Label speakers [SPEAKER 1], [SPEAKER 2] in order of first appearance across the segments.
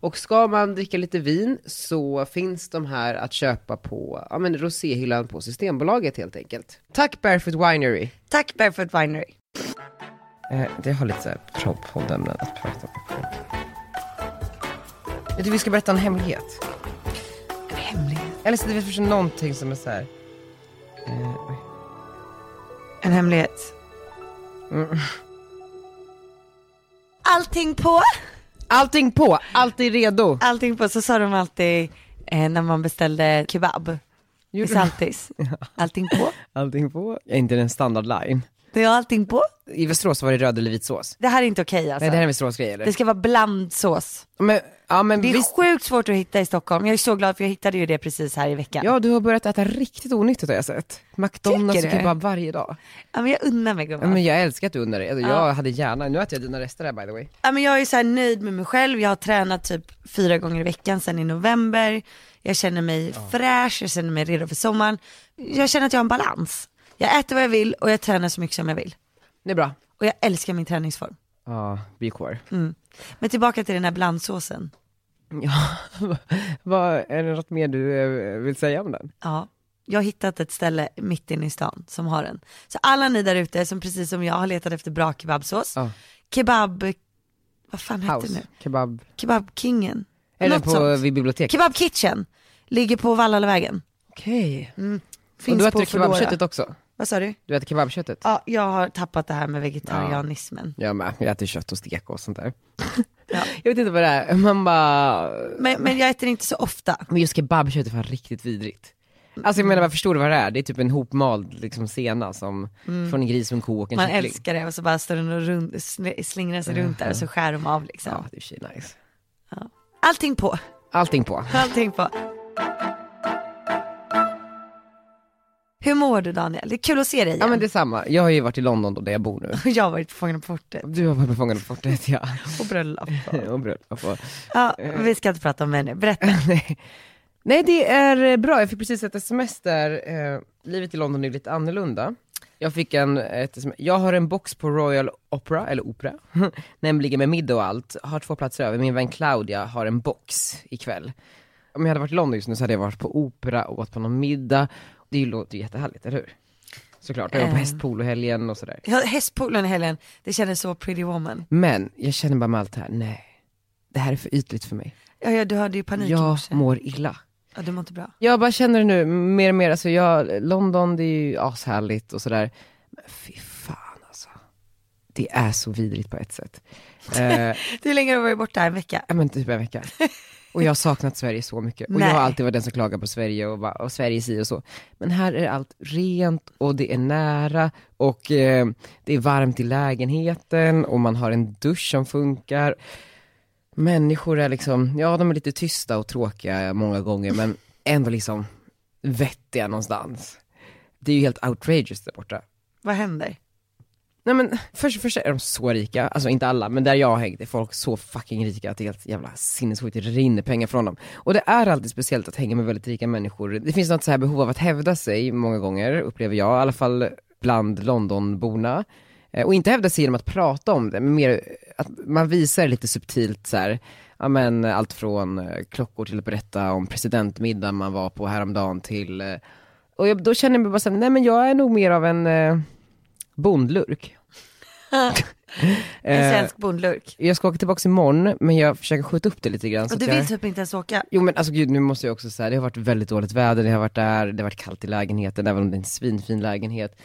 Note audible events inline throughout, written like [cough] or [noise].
[SPEAKER 1] Och ska man dricka lite vin så finns de här att köpa på ja, men roséhyllan på Systembolaget helt enkelt. Tack Barefoot Winery!
[SPEAKER 2] Tack Barefoot Winery.
[SPEAKER 1] Eh, det har lite pro- poddämnen att prata om. Vet du, vi ska berätta en hemlighet. En hemlighet? Eller så det är först någonting som är så här.
[SPEAKER 2] En hemlighet. Allting på.
[SPEAKER 1] Allting på, alltid redo.
[SPEAKER 2] Allting på, så sa de alltid eh, när man beställde kebab i [laughs] Saltis. Allting på.
[SPEAKER 1] Allting på. Är inte den standardline.
[SPEAKER 2] Det är allting på.
[SPEAKER 1] I Västerås var det röd eller vit sås.
[SPEAKER 2] Det här är inte okej alltså.
[SPEAKER 1] Nej, det här är
[SPEAKER 2] det,
[SPEAKER 1] en Västeråsgrej eller?
[SPEAKER 2] ska vara blandsås.
[SPEAKER 1] Men, ja men
[SPEAKER 2] Det är
[SPEAKER 1] visst.
[SPEAKER 2] sjukt svårt att hitta i Stockholm. Jag är så glad för jag hittade ju det precis här i veckan.
[SPEAKER 1] Ja, du har börjat äta riktigt onyttigt har jag sett. McDonalds och
[SPEAKER 2] Tycker du?
[SPEAKER 1] kebab varje dag.
[SPEAKER 2] Ja, men jag unnar mig gumman.
[SPEAKER 1] Ja, men jag älskar att du undrar det. Alltså, Jag hade gärna, nu äter jag dina rester här by the way.
[SPEAKER 2] ja, men jag är så här nöjd med mig själv, jag har tränat typ fyra gånger i veckan sedan i november. Jag känner mig fräsch, jag känner mig redo för sommaren. Jag känner att jag har en balans. Jag äter vad jag vill och jag tränar så mycket som jag vill.
[SPEAKER 1] Det är bra.
[SPEAKER 2] Och jag älskar min träningsform.
[SPEAKER 1] Ja, be core.
[SPEAKER 2] Men tillbaka till den här blandsåsen.
[SPEAKER 1] Ja, [laughs] vad, är det något mer du eh, vill säga om den?
[SPEAKER 2] Ja, jag har hittat ett ställe mitt inne i stan som har den. Så alla ni där ute som precis som jag har letat efter bra kebabsås,
[SPEAKER 1] Ja.
[SPEAKER 2] kebab, vad fan heter det nu?
[SPEAKER 1] House, kebab,
[SPEAKER 2] Kebabkingen.
[SPEAKER 1] eller
[SPEAKER 2] Något
[SPEAKER 1] på
[SPEAKER 2] sånt.
[SPEAKER 1] vid biblioteket.
[SPEAKER 2] Kebab Kitchen, ligger på Vallalavägen.
[SPEAKER 1] Okej. Och
[SPEAKER 2] Finns
[SPEAKER 1] du
[SPEAKER 2] på
[SPEAKER 1] äter
[SPEAKER 2] Foodora.
[SPEAKER 1] kebabköttet också?
[SPEAKER 2] Vad sa du?
[SPEAKER 1] Du äter kebabköttet?
[SPEAKER 2] Ja, jag har tappat det här med vegetarianismen.
[SPEAKER 1] Jag med, jag äter kött och stek och sånt där.
[SPEAKER 2] [laughs] Ja.
[SPEAKER 1] Jag vet inte vad det är, man bara...
[SPEAKER 2] Men, men jag äter inte så ofta.
[SPEAKER 1] Men just kebabkött är fan riktigt vidrigt. Alltså jag
[SPEAKER 2] Mm.
[SPEAKER 1] menar, jag förstår du vad det är? Det är typ en hopmald liksom, sena som, från en gris, en ko och en
[SPEAKER 2] Mm. Man
[SPEAKER 1] kyckling.
[SPEAKER 2] älskar det och så bara står den och rund, sn- slingrar sig runt där och så skär de av liksom.
[SPEAKER 1] Ja, det är i och för sig nice.
[SPEAKER 2] Allting på,
[SPEAKER 1] Allting på.
[SPEAKER 2] allting på. Hur mår du Daniel? Det är kul att se dig igen.
[SPEAKER 1] Ja men det är samma. Jag har ju varit i London då, där jag bor nu.
[SPEAKER 2] [laughs] Jag har varit på Fångarna på fortet
[SPEAKER 1] Du har varit på Fångarna på fortet ja.
[SPEAKER 2] och bröllop.
[SPEAKER 1] Och bröllop och...
[SPEAKER 2] Ja, vi ska inte prata om det nu, berätta.
[SPEAKER 1] [laughs] Nej. Nej det är eh, bra, jag fick precis ett sms där, eh, livet i London är lite annorlunda. Jag fick en, ett sms, jag har en box på Royal Opera, eller Opera, [laughs] nämligen med middag och allt, har två platser över, min vän Claudia har en box ikväll. Om jag hade varit i London just nu så hade jag varit på opera och åt på någon middag, det låter ju jättehärligt, eller hur? Såklart, jag var på
[SPEAKER 2] Eh.
[SPEAKER 1] hästpolohelgen och sådär.
[SPEAKER 2] Ja, Hästpoolen i helgen, det kändes så pretty woman.
[SPEAKER 1] Men jag känner bara med allt det här, nej, det här är för ytligt för mig.
[SPEAKER 2] Ja, ja du hörde ju panik i
[SPEAKER 1] Jag
[SPEAKER 2] morse.
[SPEAKER 1] mår illa.
[SPEAKER 2] Ja, du mår inte bra.
[SPEAKER 1] Jag bara känner det nu mer och mer, alltså jag, London det är ju ashärligt och sådär. Men fy fan alltså. Det är så vidrigt på ett sätt. Eh,
[SPEAKER 2] Hur länge har du varit borta? En vecka?
[SPEAKER 1] ja, men typ en vecka. Och jag har saknat Sverige så mycket. Och jag
[SPEAKER 2] Nej.
[SPEAKER 1] har alltid varit den som klagar på Sverige och, bara, och Sverige si och så. Men här är allt rent och det är nära och eh, det är varmt i lägenheten och man har en dusch som funkar. Människor är liksom, ja de är lite tysta och tråkiga många gånger men ändå liksom vettiga någonstans. Det är ju helt outrageous där borta.
[SPEAKER 2] Vad händer?
[SPEAKER 1] Nej men först, först är de så rika, alltså inte alla, men där jag har hängt är folk så fucking rika att det är helt jävla sinnessjukt, det rinner pengar från dem. Och det är alltid speciellt att hänga med väldigt rika människor. Det finns något så här behov av att hävda sig många gånger, upplever jag, i alla fall bland Londonborna. Eh, Och inte hävda sig genom att prata om det, men mer att man visar lite subtilt så här, ja men allt från eh, klockor till att berätta om presidentmiddagen man var på häromdagen till, eh, och jag, då känner jag mig bara såhär, nej men jag är nog mer av en eh, bondlurk.
[SPEAKER 2] [laughs] En
[SPEAKER 1] Eh,
[SPEAKER 2] svensk bondlurk.
[SPEAKER 1] jag ska åka tillbaka imorgon, men jag försöker skjuta upp det lite grann. så
[SPEAKER 2] Och du
[SPEAKER 1] att jag...
[SPEAKER 2] vill typ inte ens åka?
[SPEAKER 1] Jo men alltså gud, nu måste jag också säga, det har varit väldigt dåligt väder, det har varit där, det har varit kallt i lägenheten, även om det är en svinfin lägenhet.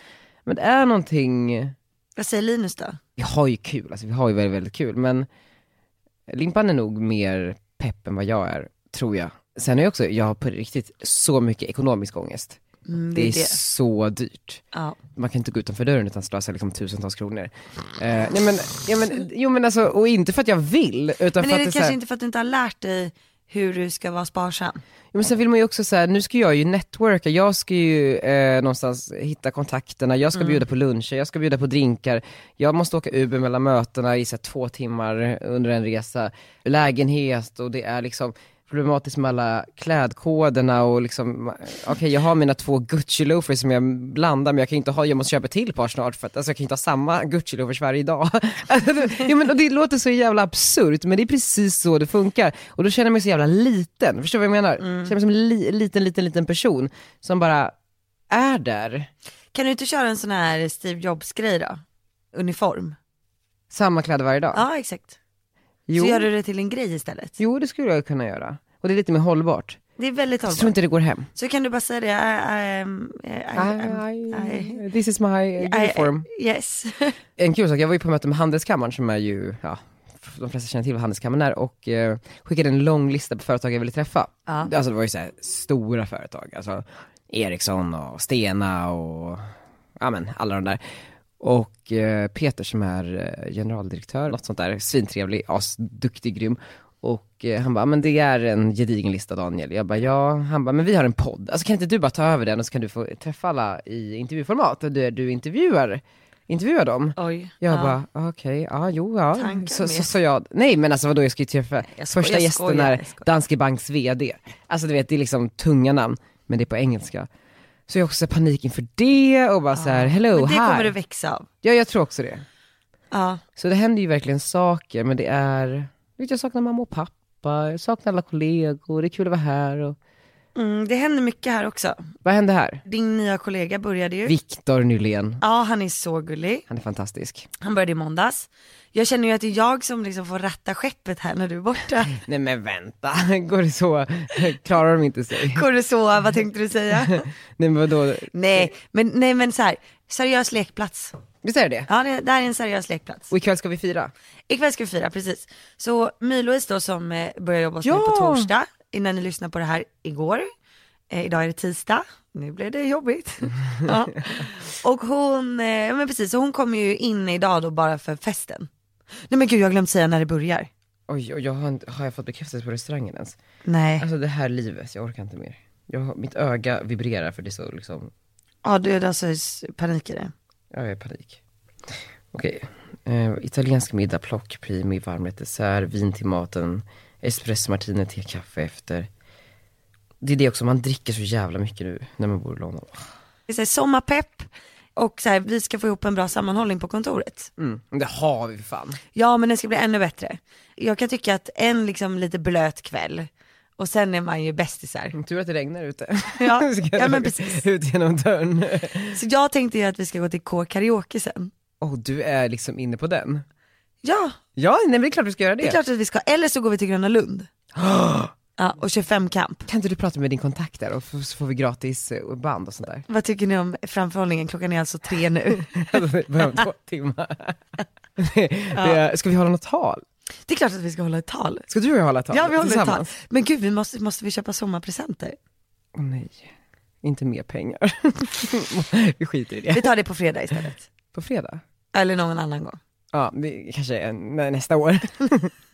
[SPEAKER 1] Men det är någonting
[SPEAKER 2] Vad säger Linus då?
[SPEAKER 1] Vi har ju kul, alltså vi har ju väldigt, väldigt kul, men Limpan är nog mer pepp än vad jag är, tror jag. Sen är jag också, jag har på riktigt så mycket ekonomisk ångest.
[SPEAKER 2] Mm,
[SPEAKER 1] Det är så dyrt.
[SPEAKER 2] Ja.
[SPEAKER 1] man kan inte gå utanför dörren utan slösa liksom tusentals kronor. Eh, nej men, ja, men, jo men alltså, och inte för att jag vill, utan för
[SPEAKER 2] Men är
[SPEAKER 1] att
[SPEAKER 2] det
[SPEAKER 1] det är
[SPEAKER 2] kanske
[SPEAKER 1] så här,
[SPEAKER 2] inte för att du inte har lärt dig hur du ska vara sparsam?
[SPEAKER 1] Ja, men sen vill man ju också säga, nu ska jag ju networka, jag ska ju eh, någonstans hitta kontakterna, jag ska bjuda på luncher, jag ska bjuda på drinkar, jag måste åka Uber mellan mötena i så här, två timmar under en resa, lägenhet och det är liksom problematiskt med alla klädkoderna och liksom, okej jag har mina två Gucci loafers som jag blandar men jag kan inte ha, jag måste köpa ett till par snart för att alltså, jag kan inte ha samma Gucci loafers varje dag. [laughs] ja, men, och det låter så jävla absurt men det är precis så det funkar och då känner jag mig så jävla liten, förstår du vad jag menar?
[SPEAKER 2] Mm.
[SPEAKER 1] Jag känner mig som en li- liten, liten, liten person som bara är där,
[SPEAKER 2] Kan du inte köra en sån här Steve Jobs-grej då? Uniform?
[SPEAKER 1] samma kläder varje dag.
[SPEAKER 2] Ja exakt.
[SPEAKER 1] jo,
[SPEAKER 2] Så gör du det till en grej istället.
[SPEAKER 1] jo det skulle jag kunna göra och det är lite mer hållbart.
[SPEAKER 2] Det är väldigt
[SPEAKER 1] Jag tror
[SPEAKER 2] hållbart.
[SPEAKER 1] inte det går hem.
[SPEAKER 2] Så kan du bara säga det, I, I, am- I, I, I,
[SPEAKER 1] I, this is my uniform.
[SPEAKER 2] I, yes.
[SPEAKER 1] En kul sak, jag var ju på möte med Handelskammaren som är ju, ja, de flesta känner till vad Handelskammaren är och eh, skickade en lång lista på företag jag ville träffa. Alltså det var ju så här stora företag, alltså Ericsson och Stena och, ja men alla de där. Och eh, Peter som är eh, generaldirektör, något sånt där, svintrevlig, asduktig, grym. Och eh, han bara, men det är en gedigen lista Daniel. Jag bara, ja. Han bara, men vi har en podd. Alltså kan inte du bara ta över den och så kan du få träffa alla i intervjuformat, där du intervjuar, intervjuar dem.
[SPEAKER 2] Oj.
[SPEAKER 1] Jag
[SPEAKER 2] [laughs] Ja.
[SPEAKER 1] bara, ah, okej, ja, jo, ja.
[SPEAKER 2] Tankar
[SPEAKER 1] Så, så,
[SPEAKER 2] med.
[SPEAKER 1] så jag, nej men alltså vadå, jag ska ju träffa,
[SPEAKER 2] Jag skojar,
[SPEAKER 1] första
[SPEAKER 2] jag
[SPEAKER 1] gästen
[SPEAKER 2] skojar,
[SPEAKER 1] är
[SPEAKER 2] jag skojar.
[SPEAKER 1] Danske Banks VD. Alltså du vet, det är liksom tunga namn, men det är på engelska. Så jag har också så här panik inför det och bara så här, hello,
[SPEAKER 2] Men det
[SPEAKER 1] "Oh, hi.
[SPEAKER 2] kommer du växa av.
[SPEAKER 1] Ja, jag tror också det.
[SPEAKER 2] Ja.
[SPEAKER 1] Så det händer ju verkligen saker, men det är, vet, jag saknar mamma och pappa, jag saknar alla kollegor, det är kul att vara här och,
[SPEAKER 2] Mm, det händer mycket här också.
[SPEAKER 1] vad hände här?
[SPEAKER 2] Din nya kollega började ju.
[SPEAKER 1] Viktor Nylén,
[SPEAKER 2] Ja, han är så gullig.
[SPEAKER 1] han är fantastisk.
[SPEAKER 2] Han började i måndags. Jag känner ju att det är jag som liksom får ratta skeppet här när du är borta.
[SPEAKER 1] Nej men vänta, [laughs] går det så, klarar de inte sig?
[SPEAKER 2] Kurosawa, vad tänkte du säga?
[SPEAKER 1] Nej men vadå,
[SPEAKER 2] nej, men, nej, men så här, seriös lekplats.
[SPEAKER 1] visst är det det?
[SPEAKER 2] Ja, det, det här är en seriös lekplats.
[SPEAKER 1] Och ikväll ska vi fira.
[SPEAKER 2] Ikväll ska vi fira, precis. Så My-Louise då som eh, börjar jobba hos mig
[SPEAKER 1] Ja.
[SPEAKER 2] på torsdag, innan ni lyssnar på det här igår. Eh, idag är det tisdag, nu blev det jobbigt. ja. Och hon, eh, ja, men precis, så hon kommer ju in idag då bara för festen. Nej men gud jag har glömt säga när det börjar.
[SPEAKER 1] Oj, och jag har, inte, har jag fått bekräftelse på restaurangen ens?
[SPEAKER 2] Nej,
[SPEAKER 1] Alltså det här livet, jag orkar inte mer. Jag, har- mitt öga vibrerar för det är så liksom,
[SPEAKER 2] ja du är alltså s- panik i det.
[SPEAKER 1] ja, jag är i panik. Okej, eh, italiensk middag, plockprimi, varmrätt, dessert, vin till maten, espresso martini, te, kaffe efter. Det är det också, man dricker så jävla mycket nu när man bor i London.
[SPEAKER 2] Det är så här, sommarpepp och så här, vi ska få ihop en bra sammanhållning på kontoret.
[SPEAKER 1] Mm, men det har vi för fan.
[SPEAKER 2] Ja men den ska bli ännu bättre. Jag kan tycka att en liksom lite blöt kväll och sen är man ju bästisar.
[SPEAKER 1] Mm, Tur att det regnar [laughs] ute.
[SPEAKER 2] Ja,
[SPEAKER 1] Så kan
[SPEAKER 2] ja
[SPEAKER 1] jag
[SPEAKER 2] men precis.
[SPEAKER 1] Ut genom dörren.
[SPEAKER 2] Så jag tänkte ju att vi ska gå till K-karaoke sen.
[SPEAKER 1] Åh, du är liksom inne på den.
[SPEAKER 2] Ja,
[SPEAKER 1] Ja, nej men det är klart vi ska göra det.
[SPEAKER 2] det är klart att vi ska. Eller så går vi till
[SPEAKER 1] [gasps]
[SPEAKER 2] Gröna Lund. Ja, och 25 kamp.
[SPEAKER 1] Kan inte du prata med din kontakt där och f- så får vi gratis eh, band och sånt
[SPEAKER 2] [laughs]
[SPEAKER 1] där?
[SPEAKER 2] Vad tycker ni om framförhållningen? Klockan är alltså tre nu.
[SPEAKER 1] Alltså, vi behöver två timmar. Det, ska vi hålla något tal?
[SPEAKER 2] Det är klart att vi ska hålla ett tal.
[SPEAKER 1] Ska du och jag hålla ett tal?
[SPEAKER 2] Ja, vi håller ett tal.
[SPEAKER 1] tillsammans?
[SPEAKER 2] Men gud, vi måste, måste vi köpa sommarpresenter?
[SPEAKER 1] Åh, nej, inte mer
[SPEAKER 2] [laughs]
[SPEAKER 1] pengar. vi skiter i
[SPEAKER 2] Vi
[SPEAKER 1] det.
[SPEAKER 2] tar det på
[SPEAKER 1] [laughs]
[SPEAKER 2] fredag istället.
[SPEAKER 1] På fredag?
[SPEAKER 2] Eller någon annan gång.
[SPEAKER 1] Ja, det kanske är nä- nästa år. [laughs]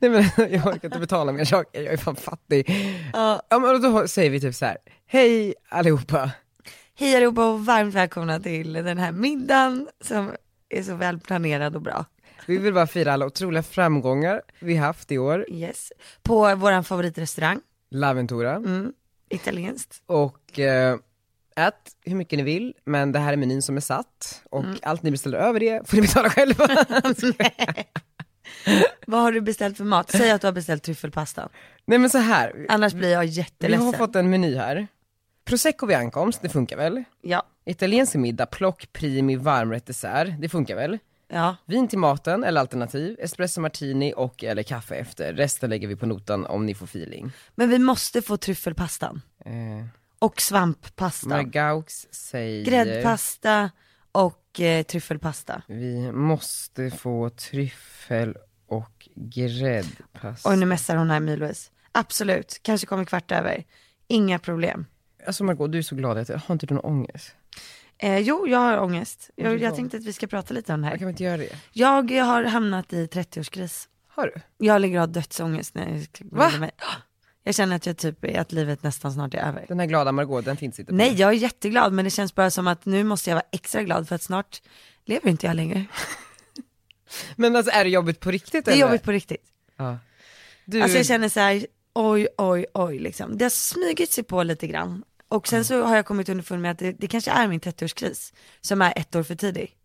[SPEAKER 1] nej men [laughs] jag orkar inte betala mer saker, jag är fan fattig.
[SPEAKER 2] Ja.
[SPEAKER 1] Ja men då säger vi typ så här, hej allihopa.
[SPEAKER 2] Hej allihopa och varmt välkomna till den här middagen som är så väl planerad och bra.
[SPEAKER 1] Vi vill bara fira alla otroliga framgångar vi haft i år.
[SPEAKER 2] Yes. På vår favoritrestaurang,
[SPEAKER 1] Laventura.
[SPEAKER 2] italienskt.
[SPEAKER 1] Och eh, ät hur mycket ni vill, men det här är menyn som är satt. Och
[SPEAKER 2] Mm.
[SPEAKER 1] allt ni beställer över det får ni betala
[SPEAKER 2] [laughs]
[SPEAKER 1] själva.
[SPEAKER 2] Vad har du beställt för mat? Säg att du har beställt tryffelpastan.
[SPEAKER 1] Nej men så här,
[SPEAKER 2] Annars blir jag
[SPEAKER 1] vi
[SPEAKER 2] jätteledsen.
[SPEAKER 1] har fått en meny här. Prosecco vid ankomst, det funkar väl?
[SPEAKER 2] Ja,
[SPEAKER 1] Italiensk middag, plock, primi, varmrätt, dessert, det funkar väl?
[SPEAKER 2] ja.
[SPEAKER 1] Vin till maten eller alternativ, espresso martini och eller kaffe efter. Resten lägger vi på notan om ni får feeling.
[SPEAKER 2] Men vi måste få tryffelpastan.
[SPEAKER 1] Eh,
[SPEAKER 2] Och svamppasta.
[SPEAKER 1] Margaux säger...
[SPEAKER 2] Gräddpasta och och eh, tryffelpasta.
[SPEAKER 1] Vi måste få tryffel och gräddpasta.
[SPEAKER 2] Och nu mässar hon här Milvis. Absolut, kanske kommer kvart över. Inga problem.
[SPEAKER 1] Alltså Margot, du är så glad att jag har inte du någon ångest?
[SPEAKER 2] Eh, jo, jag har ångest. Jag,
[SPEAKER 1] Varför då?
[SPEAKER 2] jag tänkte att vi ska prata lite om det
[SPEAKER 1] Jag
[SPEAKER 2] här.
[SPEAKER 1] kan inte göra det.
[SPEAKER 2] Jag har hamnat i 30-årskris.
[SPEAKER 1] Har du?
[SPEAKER 2] Jag ligger och har dödsångest när jag ska gå och
[SPEAKER 1] Va?
[SPEAKER 2] lägga mig. Ja. Jag känner att jag typ, är- att livet nästan snart är över.
[SPEAKER 1] Den här glada Margot, den finns inte. på
[SPEAKER 2] Nej,
[SPEAKER 1] mig.
[SPEAKER 2] jag är jätteglad men det känns bara som att nu måste jag vara extra glad för att snart lever inte
[SPEAKER 1] [laughs]
[SPEAKER 2] jag längre.
[SPEAKER 1] Men alltså är det jobbigt på riktigt
[SPEAKER 2] Det är
[SPEAKER 1] eller?
[SPEAKER 2] jobbigt på riktigt.
[SPEAKER 1] Ja. Du,
[SPEAKER 2] Alltså jag känner så här, oj, oj, oj liksom. Det har smugit sig på lite grann. Och
[SPEAKER 1] Mm.
[SPEAKER 2] sen så har jag kommit underfund med att det, det kanske är min 30-årskris som är ett år för tidig.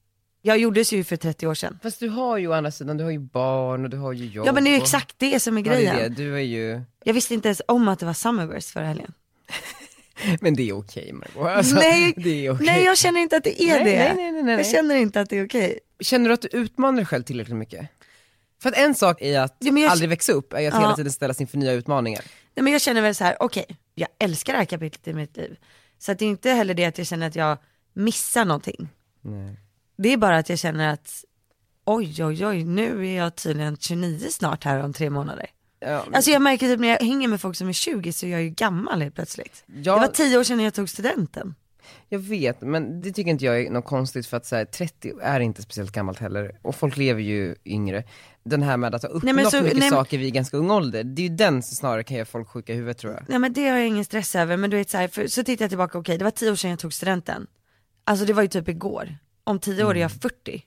[SPEAKER 2] Jag gjordes ju för 30 år sedan.
[SPEAKER 1] Fast du har ju å andra sidan, du har ju barn och du har ju jobb.
[SPEAKER 2] Ja men det är ju
[SPEAKER 1] och-
[SPEAKER 2] exakt det som är
[SPEAKER 1] Ja, det är
[SPEAKER 2] grejen.
[SPEAKER 1] det. Du är ju,
[SPEAKER 2] Jag visste inte ens om att det var Summerburst förra helgen.
[SPEAKER 1] men det är okej Margot. Alltså,
[SPEAKER 2] nej,
[SPEAKER 1] [laughs] det är okej.
[SPEAKER 2] nej jag känner inte att det
[SPEAKER 1] Nej,
[SPEAKER 2] är det.
[SPEAKER 1] nej, nej, nej, nej.
[SPEAKER 2] Jag känner inte att det är okej.
[SPEAKER 1] Känner du att du utmanar dig själv tillräckligt mycket? För att en sak är att
[SPEAKER 2] Ja, men jag-
[SPEAKER 1] aldrig växa upp, är att
[SPEAKER 2] Ja.
[SPEAKER 1] hela tiden ställa sig inför nya utmaningar.
[SPEAKER 2] Nej men jag känner väl så här, okej, jag älskar det här kapitlet i mitt liv. Så att det är inte heller det att jag känner att jag missar någonting.
[SPEAKER 1] Nej.
[SPEAKER 2] Det är bara att jag känner att oj, oj, oj, nu är jag tydligen 29 snart här om tre månader.
[SPEAKER 1] Ja, men-
[SPEAKER 2] Alltså jag märker typ när jag hänger med folk som är 20 så är jag ju gammal helt plötsligt.
[SPEAKER 1] Ja.
[SPEAKER 2] Det var 10 år sedan jag tog studenten.
[SPEAKER 1] Jag vet, men det tycker inte jag är något konstigt för att så här, 30 är inte speciellt gammalt heller och folk lever ju yngre. Den här med att ha
[SPEAKER 2] men
[SPEAKER 1] uppnått
[SPEAKER 2] så-
[SPEAKER 1] mycket
[SPEAKER 2] nej, men-
[SPEAKER 1] saker vid ganska ung ålder, det är ju den som snarare kan göra folk sjuka i huvudet tror jag.
[SPEAKER 2] Nej men det har jag ingen stress över, men du vet så här, för, så tittar jag tillbaka, okej det var 10 år sedan jag tog studenten. Alltså det var ju typ igår. Om 10 år är
[SPEAKER 1] Mm.
[SPEAKER 2] jag 40.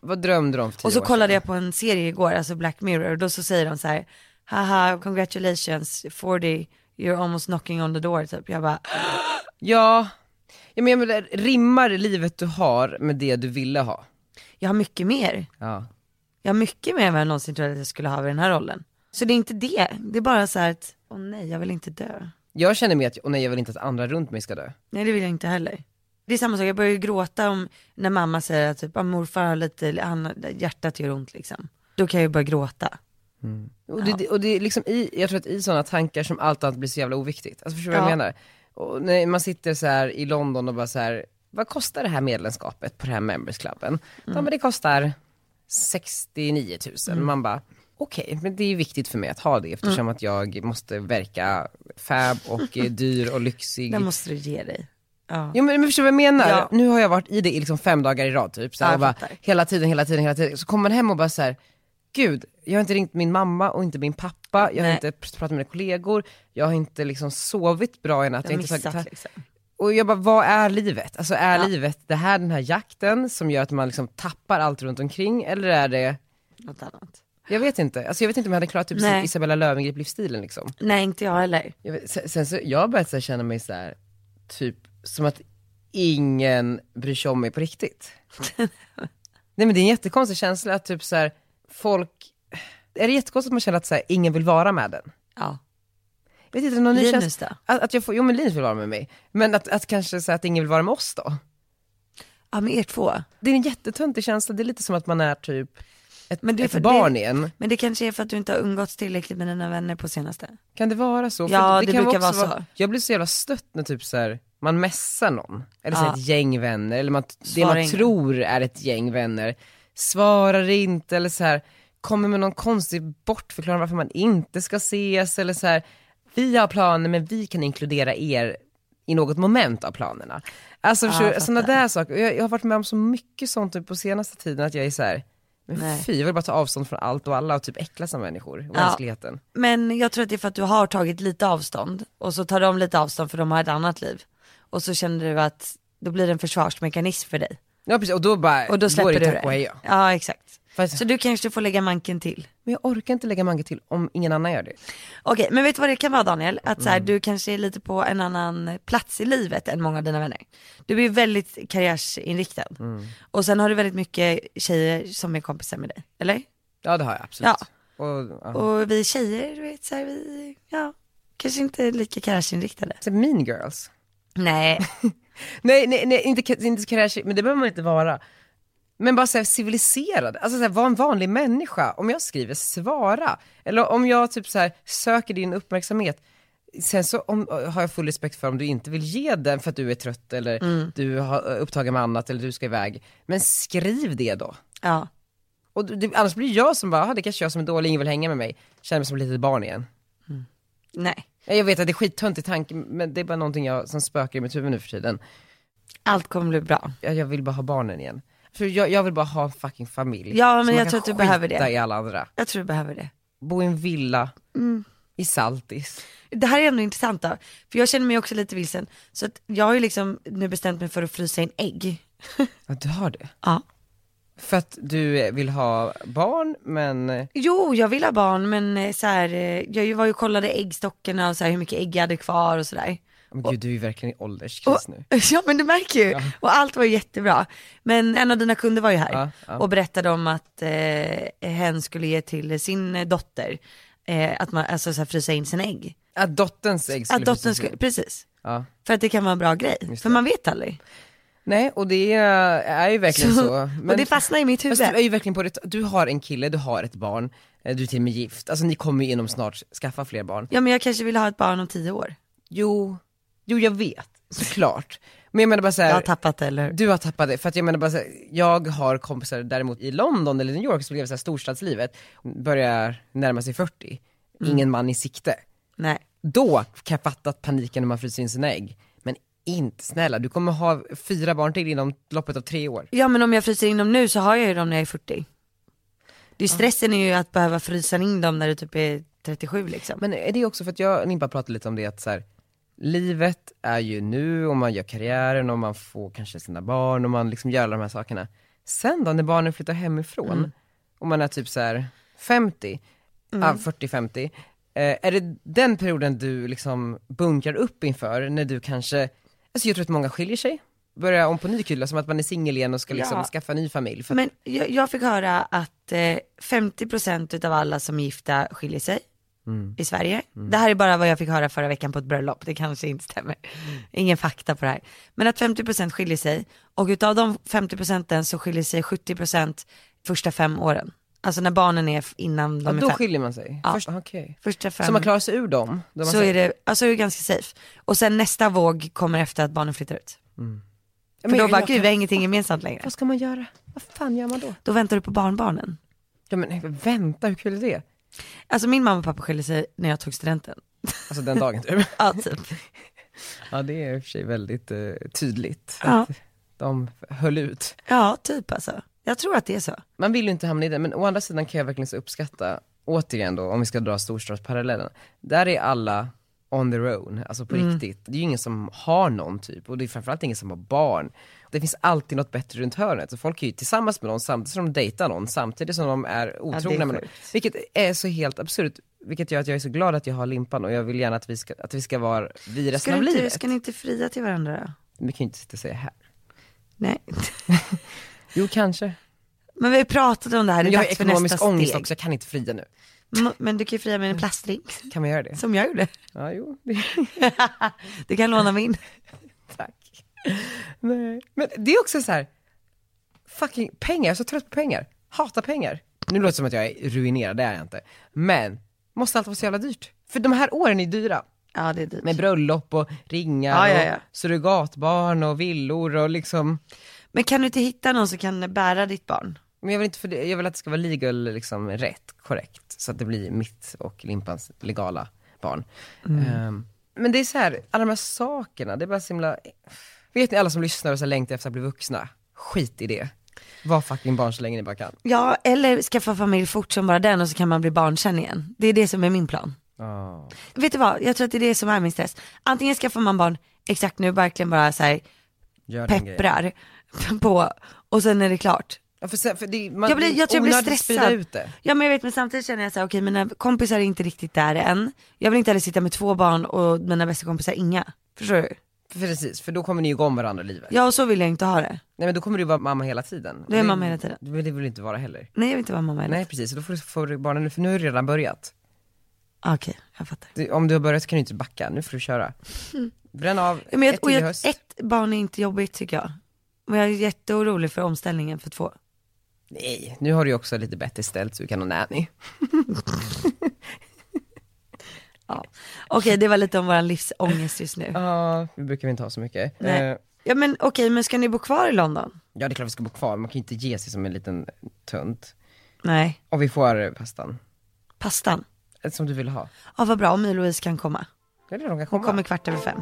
[SPEAKER 1] Vad drömde du om för 10
[SPEAKER 2] Och så
[SPEAKER 1] år
[SPEAKER 2] kollade
[SPEAKER 1] sedan?
[SPEAKER 2] jag på en serie igår, alltså Black Mirror, och då så säger de så här, haha congratulations 40, you're almost knocking on the door typ. Jag bara,
[SPEAKER 1] Ja, ja men jag menar, rimmar livet du har med det du ville ha?
[SPEAKER 2] jag har mycket mer.
[SPEAKER 1] Ja.
[SPEAKER 2] Jag har mycket mer än vad jag någonsin trodde att jag skulle ha vid den här rollen. Så det är inte det, det är bara så här att, åh nej jag vill inte dö.
[SPEAKER 1] Jag känner mig att, och nej jag vill inte att andra runt mig ska dö.
[SPEAKER 2] Nej det vill jag inte heller. Det är samma sak, jag börjar ju gråta om när mamma säger att typ, ah, morfar har lite, han, hjärtat gör ont liksom. Då kan jag ju börja gråta.
[SPEAKER 1] Och det, och det är liksom i, jag tror att i sådana tankar som allt annat blir så jävla oviktigt. Alltså förstår du vad
[SPEAKER 2] Ja.
[SPEAKER 1] jag menar? Och när man sitter så här i London och bara så här, vad kostar det här medlemskapet på den här membersklubben? Ja men det kostar 69 000. Man bara, okej, men det är viktigt för mig att ha det eftersom att jag måste verka fab och eh, dyr och lyxig.
[SPEAKER 2] Den måste du ge dig. Ja.
[SPEAKER 1] Jo men, men förstår du vad jag menar?
[SPEAKER 2] Ja.
[SPEAKER 1] Nu har jag varit i det i liksom fem dagar i rad typ, så
[SPEAKER 2] Ja,
[SPEAKER 1] här,
[SPEAKER 2] jag
[SPEAKER 1] och bara,
[SPEAKER 2] fattar.
[SPEAKER 1] hela tiden, hela tiden, hela tiden. Så kommer man hem och bara så här, gud, jag har inte ringt min mamma och inte min pappa, jag har
[SPEAKER 2] Nej.
[SPEAKER 1] inte pr- pratat med mina kollegor, jag har inte liksom sovit bra i natt. Jag
[SPEAKER 2] Jag
[SPEAKER 1] har inte
[SPEAKER 2] missat
[SPEAKER 1] tagit-
[SPEAKER 2] liksom.
[SPEAKER 1] och jag bara, vad är livet? Alltså är
[SPEAKER 2] Ja.
[SPEAKER 1] livet det här den här jakten som gör att man liksom tappar allt runt omkring eller är det,
[SPEAKER 2] Något annat.
[SPEAKER 1] jag vet inte, alltså jag vet inte om jag hade klarat typ
[SPEAKER 2] Nej.
[SPEAKER 1] Isabella Löwengrip-livsstilen liksom.
[SPEAKER 2] Nej inte jag heller.
[SPEAKER 1] Jag vet, sen, sen så, jag har börjat så här, känna mig så här, typ som att ingen bryr sig om mig på
[SPEAKER 2] [laughs]
[SPEAKER 1] riktigt. Nej men det är en jättekonstig känsla att typ så här, folk, är det jättekonstigt att man känner att så här, ingen vill vara med den?
[SPEAKER 2] Ja.
[SPEAKER 1] Jag vet inte, någon ny
[SPEAKER 2] Linus
[SPEAKER 1] känsla-
[SPEAKER 2] då?
[SPEAKER 1] Att, att jag får, jo men Linus vill vara med mig, men att, att kanske så här, att ingen vill vara med oss då?
[SPEAKER 2] Ja men er två.
[SPEAKER 1] Det är en jättetöntig känsla, det är lite som att man är typ ett,
[SPEAKER 2] Men det är
[SPEAKER 1] ett
[SPEAKER 2] för-
[SPEAKER 1] barn
[SPEAKER 2] det-
[SPEAKER 1] igen.
[SPEAKER 2] Men det kanske är för att du inte har umgåtts tillräckligt med dina vänner på senaste.
[SPEAKER 1] Kan det vara så?
[SPEAKER 2] Ja, det
[SPEAKER 1] kan
[SPEAKER 2] brukar
[SPEAKER 1] också
[SPEAKER 2] vara så.
[SPEAKER 1] Jag blir så jävla stött när typ så här, man messar någon, eller så
[SPEAKER 2] Ja.
[SPEAKER 1] ett gäng vänner, eller man, det
[SPEAKER 2] Svarar
[SPEAKER 1] man
[SPEAKER 2] ingen.
[SPEAKER 1] tror är ett gäng vänner, svarar inte eller så här, kommer med någon konstig bortförklaring varför man inte ska ses eller så här, vi har planer men vi kan inkludera er i något moment av planerna. Alltså
[SPEAKER 2] Ja,
[SPEAKER 1] förstår
[SPEAKER 2] jag
[SPEAKER 1] du, sådana
[SPEAKER 2] fattar.
[SPEAKER 1] där saker, Och jag, jag har varit med om så mycket sånt typ på senaste tiden att jag är så här, men
[SPEAKER 2] Nej.
[SPEAKER 1] fy jag vill bara ta avstånd från allt och alla och typ äcklas av människor och
[SPEAKER 2] Ja.
[SPEAKER 1] mänskligheten.
[SPEAKER 2] Men jag tror att det är för att du har tagit lite avstånd och så tar de lite avstånd för de har ett annat liv. Och så känner du att då blir det en försvarsmekanism för dig.
[SPEAKER 1] Ja precis, och då bara,
[SPEAKER 2] Och då släpper
[SPEAKER 1] är
[SPEAKER 2] du
[SPEAKER 1] det
[SPEAKER 2] det.
[SPEAKER 1] tack och hej ja.
[SPEAKER 2] Ja exakt.
[SPEAKER 1] Fast-
[SPEAKER 2] Så du kanske får lägga manken till.
[SPEAKER 1] Men jag orkar inte lägga manken till om ingen annan gör det.
[SPEAKER 2] Okej, men vet du vad det kan vara Daniel? Att
[SPEAKER 1] Mm.
[SPEAKER 2] så här, du kanske är lite på en annan plats i livet än många av dina vänner. Du är väldigt karriärsinriktad.
[SPEAKER 1] Mm.
[SPEAKER 2] Och sen har du väldigt mycket tjejer som är kompisar med dig, eller?
[SPEAKER 1] Ja det har jag absolut.
[SPEAKER 2] Ja.
[SPEAKER 1] Och, ja.
[SPEAKER 2] Och vi tjejer, du vet så här, vi, ja, kanske inte är lika karriärsinriktade.
[SPEAKER 1] Så mean girls.
[SPEAKER 2] Nej,
[SPEAKER 1] Nej, nej, nej inte, ka- inte karriär, men det behöver man inte vara. Men bara såhär civiliserad, alltså såhär, vara en vanlig människa. Om jag skriver, svara. Eller om jag typ såhär söker din uppmärksamhet, Sen så om, har jag full respekt för om du inte vill ge den för att du är trött eller
[SPEAKER 2] Mm.
[SPEAKER 1] du har eh, upptagen med annat eller du ska iväg. Men skriv det då.
[SPEAKER 2] [laughs] Ja.
[SPEAKER 1] Och du- det, annars blir jag som bara, "Aha, det kanske jag som är dålig, ingen vill hänga med mig. Känner mig som ett litet barn igen.
[SPEAKER 2] Nej.
[SPEAKER 1] Ja, Jag vet att det är skittöntig tanke men det är bara någonting jag, som spökar i mitt huvud nu för tiden.
[SPEAKER 2] Allt kommer bli bra.
[SPEAKER 1] Jag, jag vill bara ha barnen igen. För jag, jag vill bara ha en fucking familj.
[SPEAKER 2] Ja, men
[SPEAKER 1] Så man
[SPEAKER 2] jag
[SPEAKER 1] kan
[SPEAKER 2] tror att du
[SPEAKER 1] skita
[SPEAKER 2] behöver det.
[SPEAKER 1] i alla andra.
[SPEAKER 2] Jag tror du behöver det.
[SPEAKER 1] Bo i en villa
[SPEAKER 2] Mm.
[SPEAKER 1] i Saltis.
[SPEAKER 2] Det här är ändå intressant då, för jag känner mig också lite vilsen. Så att jag har ju liksom nu bestämt mig för att frysa in ägg.
[SPEAKER 1] Ja, du har det.
[SPEAKER 2] Ja.
[SPEAKER 1] För att du eh, vill ha barn men eh,
[SPEAKER 2] Jo, jag vill ha barn men eh, så här, eh, jag ju- var ju och kollade äggstockarna och så här, hur mycket ägg jag hade kvar och sådär.
[SPEAKER 1] men gud du är ju verkligen i ålderskris
[SPEAKER 2] Och,
[SPEAKER 1] nu.
[SPEAKER 2] [laughs] ja men du märker ju, och allt var ju jättebra. Men en av dina kunder var ju här
[SPEAKER 1] Ja, ja.
[SPEAKER 2] och berättade om att eh, hen skulle ge till sin dotter, eh, att man, alltså så här, frysa in sina ägg.
[SPEAKER 1] Att dotterns ägg skulle
[SPEAKER 2] Att dottern
[SPEAKER 1] precis-
[SPEAKER 2] skulle, precis.
[SPEAKER 1] Ja.
[SPEAKER 2] För att det kan vara en bra grej, för man vet aldrig.
[SPEAKER 1] Nej och det eh, är ju verkligen så.
[SPEAKER 2] och
[SPEAKER 1] Men-
[SPEAKER 2] det fastnar i mitt huvud.
[SPEAKER 1] Fast du är ju verkligen på det, du har en kille, du har ett barn, eh, du är till och med gift, alltså ni kommer ju inom snart skaffa fler barn.
[SPEAKER 2] Ja men jag kanske vill ha ett barn om tio år.
[SPEAKER 1] Jo, jo jag vet, såklart. Men jag menar bara
[SPEAKER 2] Jag har
[SPEAKER 1] såhär,
[SPEAKER 2] tappat det eller hur?
[SPEAKER 1] du har tappat det, för att jag menar bara så här, jag har kompisar däremot i London eller New York som lever såhär storstadslivet, börjar närma sig 40,
[SPEAKER 2] Mm.
[SPEAKER 1] ingen man i sikte.
[SPEAKER 2] Nej.
[SPEAKER 1] Då kan jag fatta att paniken när man fryser in sina ägg, men inte snälla, du kommer ha fyra barn till inom loppet av tre år.
[SPEAKER 2] Ja men om jag fryser in dem nu så har jag ju dem när jag är 40. Det är stressen är ju att behöva frysa in dem när du typ är 37 liksom.
[SPEAKER 1] Men är det också för att jag och Nimpa pratade lite om det att så här, livet är ju nu och man gör karriären och man får kanske sina barn och man liksom gör alla de här sakerna. Sen då när barnen flyttar hemifrån
[SPEAKER 2] Mm.
[SPEAKER 1] och man är typ så här 50, ah,
[SPEAKER 2] Mm.
[SPEAKER 1] 40-50, eh, är det den perioden du liksom bunkrar upp inför när du kanske, alltså jag tror att många skiljer sig, börjar om på ny kula som att man är singel igen och ska liksom
[SPEAKER 2] Ja.
[SPEAKER 1] skaffa ny familj. För att,
[SPEAKER 2] Men jag, jag fick höra att eh, 50% utav alla som är gifta skiljer sig
[SPEAKER 1] Mm.
[SPEAKER 2] i Sverige. Det här är bara vad jag fick höra förra veckan på ett bröllop, det kanske inte stämmer. Ingen fakta på det här. Men att 50% skiljer sig och utav de 50% så skiljer sig 70% första fem åren. Alltså när barnen är f- innan de
[SPEAKER 1] ja,
[SPEAKER 2] är
[SPEAKER 1] då
[SPEAKER 2] fem.
[SPEAKER 1] skiljer man sig.
[SPEAKER 2] Ja.
[SPEAKER 1] Först, okej.
[SPEAKER 2] Första fem.
[SPEAKER 1] Så man klarar sig ur dem? då man
[SPEAKER 2] så
[SPEAKER 1] säger-
[SPEAKER 2] är det, alltså är det ganska safe. Och sen nästa våg kommer efter att barnen flyttar ut. För
[SPEAKER 1] Men
[SPEAKER 2] då bara,
[SPEAKER 1] jag
[SPEAKER 2] gud
[SPEAKER 1] kan-
[SPEAKER 2] vi har ingenting gemensamt längre.
[SPEAKER 1] Vad ska man göra? Vad fan gör man då?
[SPEAKER 2] Då väntar du på barnbarnen.
[SPEAKER 1] Ja men vänta, hur kul är det?
[SPEAKER 2] Alltså min mamma och pappa skilde sig när jag tog studenten.
[SPEAKER 1] Alltså den dagen typ.
[SPEAKER 2] Ja, typ.
[SPEAKER 1] [laughs] ja det är i och för sig väldigt eh, tydligt.
[SPEAKER 2] Ja.
[SPEAKER 1] Att de höll ut.
[SPEAKER 2] [laughs] ja, typ alltså. Jag tror att det är så.
[SPEAKER 1] Man vill ju inte hamna i det, men å andra sidan kan jag verkligen så uppskatta, återigen då, om vi ska dra storstadsparallellen. Där är alla on their own, alltså på
[SPEAKER 2] Mm.
[SPEAKER 1] riktigt. Det är ju ingen som har någon typ, och det är framförallt ingen som har barn. Det finns alltid något bättre runt hörnet, så folk är ju tillsammans med någon samtidigt som de dejtar någon, samtidigt som de är otrogna med någon.
[SPEAKER 2] sjukt.
[SPEAKER 1] Vilket är så helt absurt, vilket gör att jag är så glad att jag har Limpan och jag vill gärna att vi ska, att vi ska vara vi resten
[SPEAKER 2] Ska,
[SPEAKER 1] av
[SPEAKER 2] du inte,
[SPEAKER 1] livet.
[SPEAKER 2] ska ni inte fria till varandra då?
[SPEAKER 1] Vi kan ju inte sitta och säga här.
[SPEAKER 2] Nej. [laughs]
[SPEAKER 1] Jo kanske.
[SPEAKER 2] Men vi har ju pratat om det här, det
[SPEAKER 1] Men
[SPEAKER 2] är
[SPEAKER 1] jag har
[SPEAKER 2] dags för nästa
[SPEAKER 1] ekonomisk ångest
[SPEAKER 2] steg.
[SPEAKER 1] också, Mm. jag kan inte fria nu.
[SPEAKER 2] M- Men du kan ju fria med en plastring, [laughs]
[SPEAKER 1] Kan vi göra det?
[SPEAKER 2] som jag gjorde.
[SPEAKER 1] Ja, jo. det-
[SPEAKER 2] Du kan låna min.
[SPEAKER 1] Tack. Nej. Men det är också så här, fucking pengar, jag är så trött på pengar. Hatar pengar. Nu låter det som att jag är ruinerad, det är jag inte. Men, måste allt vara så jävla dyrt? För de här åren är dyra.
[SPEAKER 2] Ja, det är dyrt.
[SPEAKER 1] Med bröllop och ringar
[SPEAKER 2] Ja, ja, ja.
[SPEAKER 1] och surrogatbarn och villor och liksom.
[SPEAKER 2] Men kan du inte hitta någon som kan bära ditt barn?
[SPEAKER 1] Men jag vill, inte för det, jag vill att det ska vara legal, liksom rätt, korrekt. Så att det blir mitt och Limpans legala barn. Ehm, men det är så här, alla de här sakerna, det är bara så himla... Vet ni alla som lyssnar och så här längtar efter att bli vuxna? Skit i det. Var fucking barn så länge ni bara kan.
[SPEAKER 2] Ja, eller skaffa familj fort som bara den och så kan man bli barn sen igen. Det är det som är min plan. Vet du vad, jag tror att det är det som är min stress. Antingen skaffar man barn exakt nu, verkligen bara så här
[SPEAKER 1] Gör den grejen.
[SPEAKER 2] pepprar [laughs] på och sen är det klart.
[SPEAKER 1] Ja, för sen, för det, man,
[SPEAKER 2] Jag blir, jag tror jag blir
[SPEAKER 1] onödigt att sprida
[SPEAKER 2] stressad.
[SPEAKER 1] Ut det.
[SPEAKER 2] Ja men jag vet men samtidigt känner jag så här, okej mina kompisar är inte riktigt där än. Jag vill inte heller sitta med två barn och mina bästa kompisar inga. Förstår du?
[SPEAKER 1] För Precis, för då kommer ni ju gå om varandra i livet.
[SPEAKER 2] Ja och så vill jag inte ha det.
[SPEAKER 1] Nej men då kommer du vara mamma hela tiden.
[SPEAKER 2] Då är jag
[SPEAKER 1] Det-
[SPEAKER 2] mamma hela tiden.
[SPEAKER 1] Men det vill du inte vara heller.
[SPEAKER 2] Nej jag vill inte vara mamma heller.
[SPEAKER 1] Nej precis, så då får du, får du barnen, för nu har det redan börjat.
[SPEAKER 2] Ah, Okej, jag fattar.
[SPEAKER 1] Du, om du har börjat så kan du inte backa, nu får du köra. Bränn av
[SPEAKER 2] Mm. Ja, Men jag,
[SPEAKER 1] ett
[SPEAKER 2] och
[SPEAKER 1] till i
[SPEAKER 2] jag,
[SPEAKER 1] höst.
[SPEAKER 2] ett barn är inte jobbigt tycker jag. Men jag är jätteorolig för omställningen för två.
[SPEAKER 1] Nej, nu har du ju också lite bättre ställt så du kan ha nanny.
[SPEAKER 2] Ja. Okej, det var lite om vår livsångest just nu.
[SPEAKER 1] [laughs] Ja, det brukar vi inte ha så mycket.
[SPEAKER 2] Nej.
[SPEAKER 1] Eh,
[SPEAKER 2] Ja men okej, men ska ni bo kvar i London?
[SPEAKER 1] ja, det är klart vi ska bo kvar, man kan ju inte ge sig som en liten tunt.
[SPEAKER 2] Nej.
[SPEAKER 1] Och vi får eh, pastan,
[SPEAKER 2] Pastan?
[SPEAKER 1] Eh, som du vill ha.
[SPEAKER 2] Ja vad bra, om Louise kan komma.
[SPEAKER 1] Ja, det är de kan
[SPEAKER 2] Hon
[SPEAKER 1] komma.
[SPEAKER 2] kommer kvart över fem.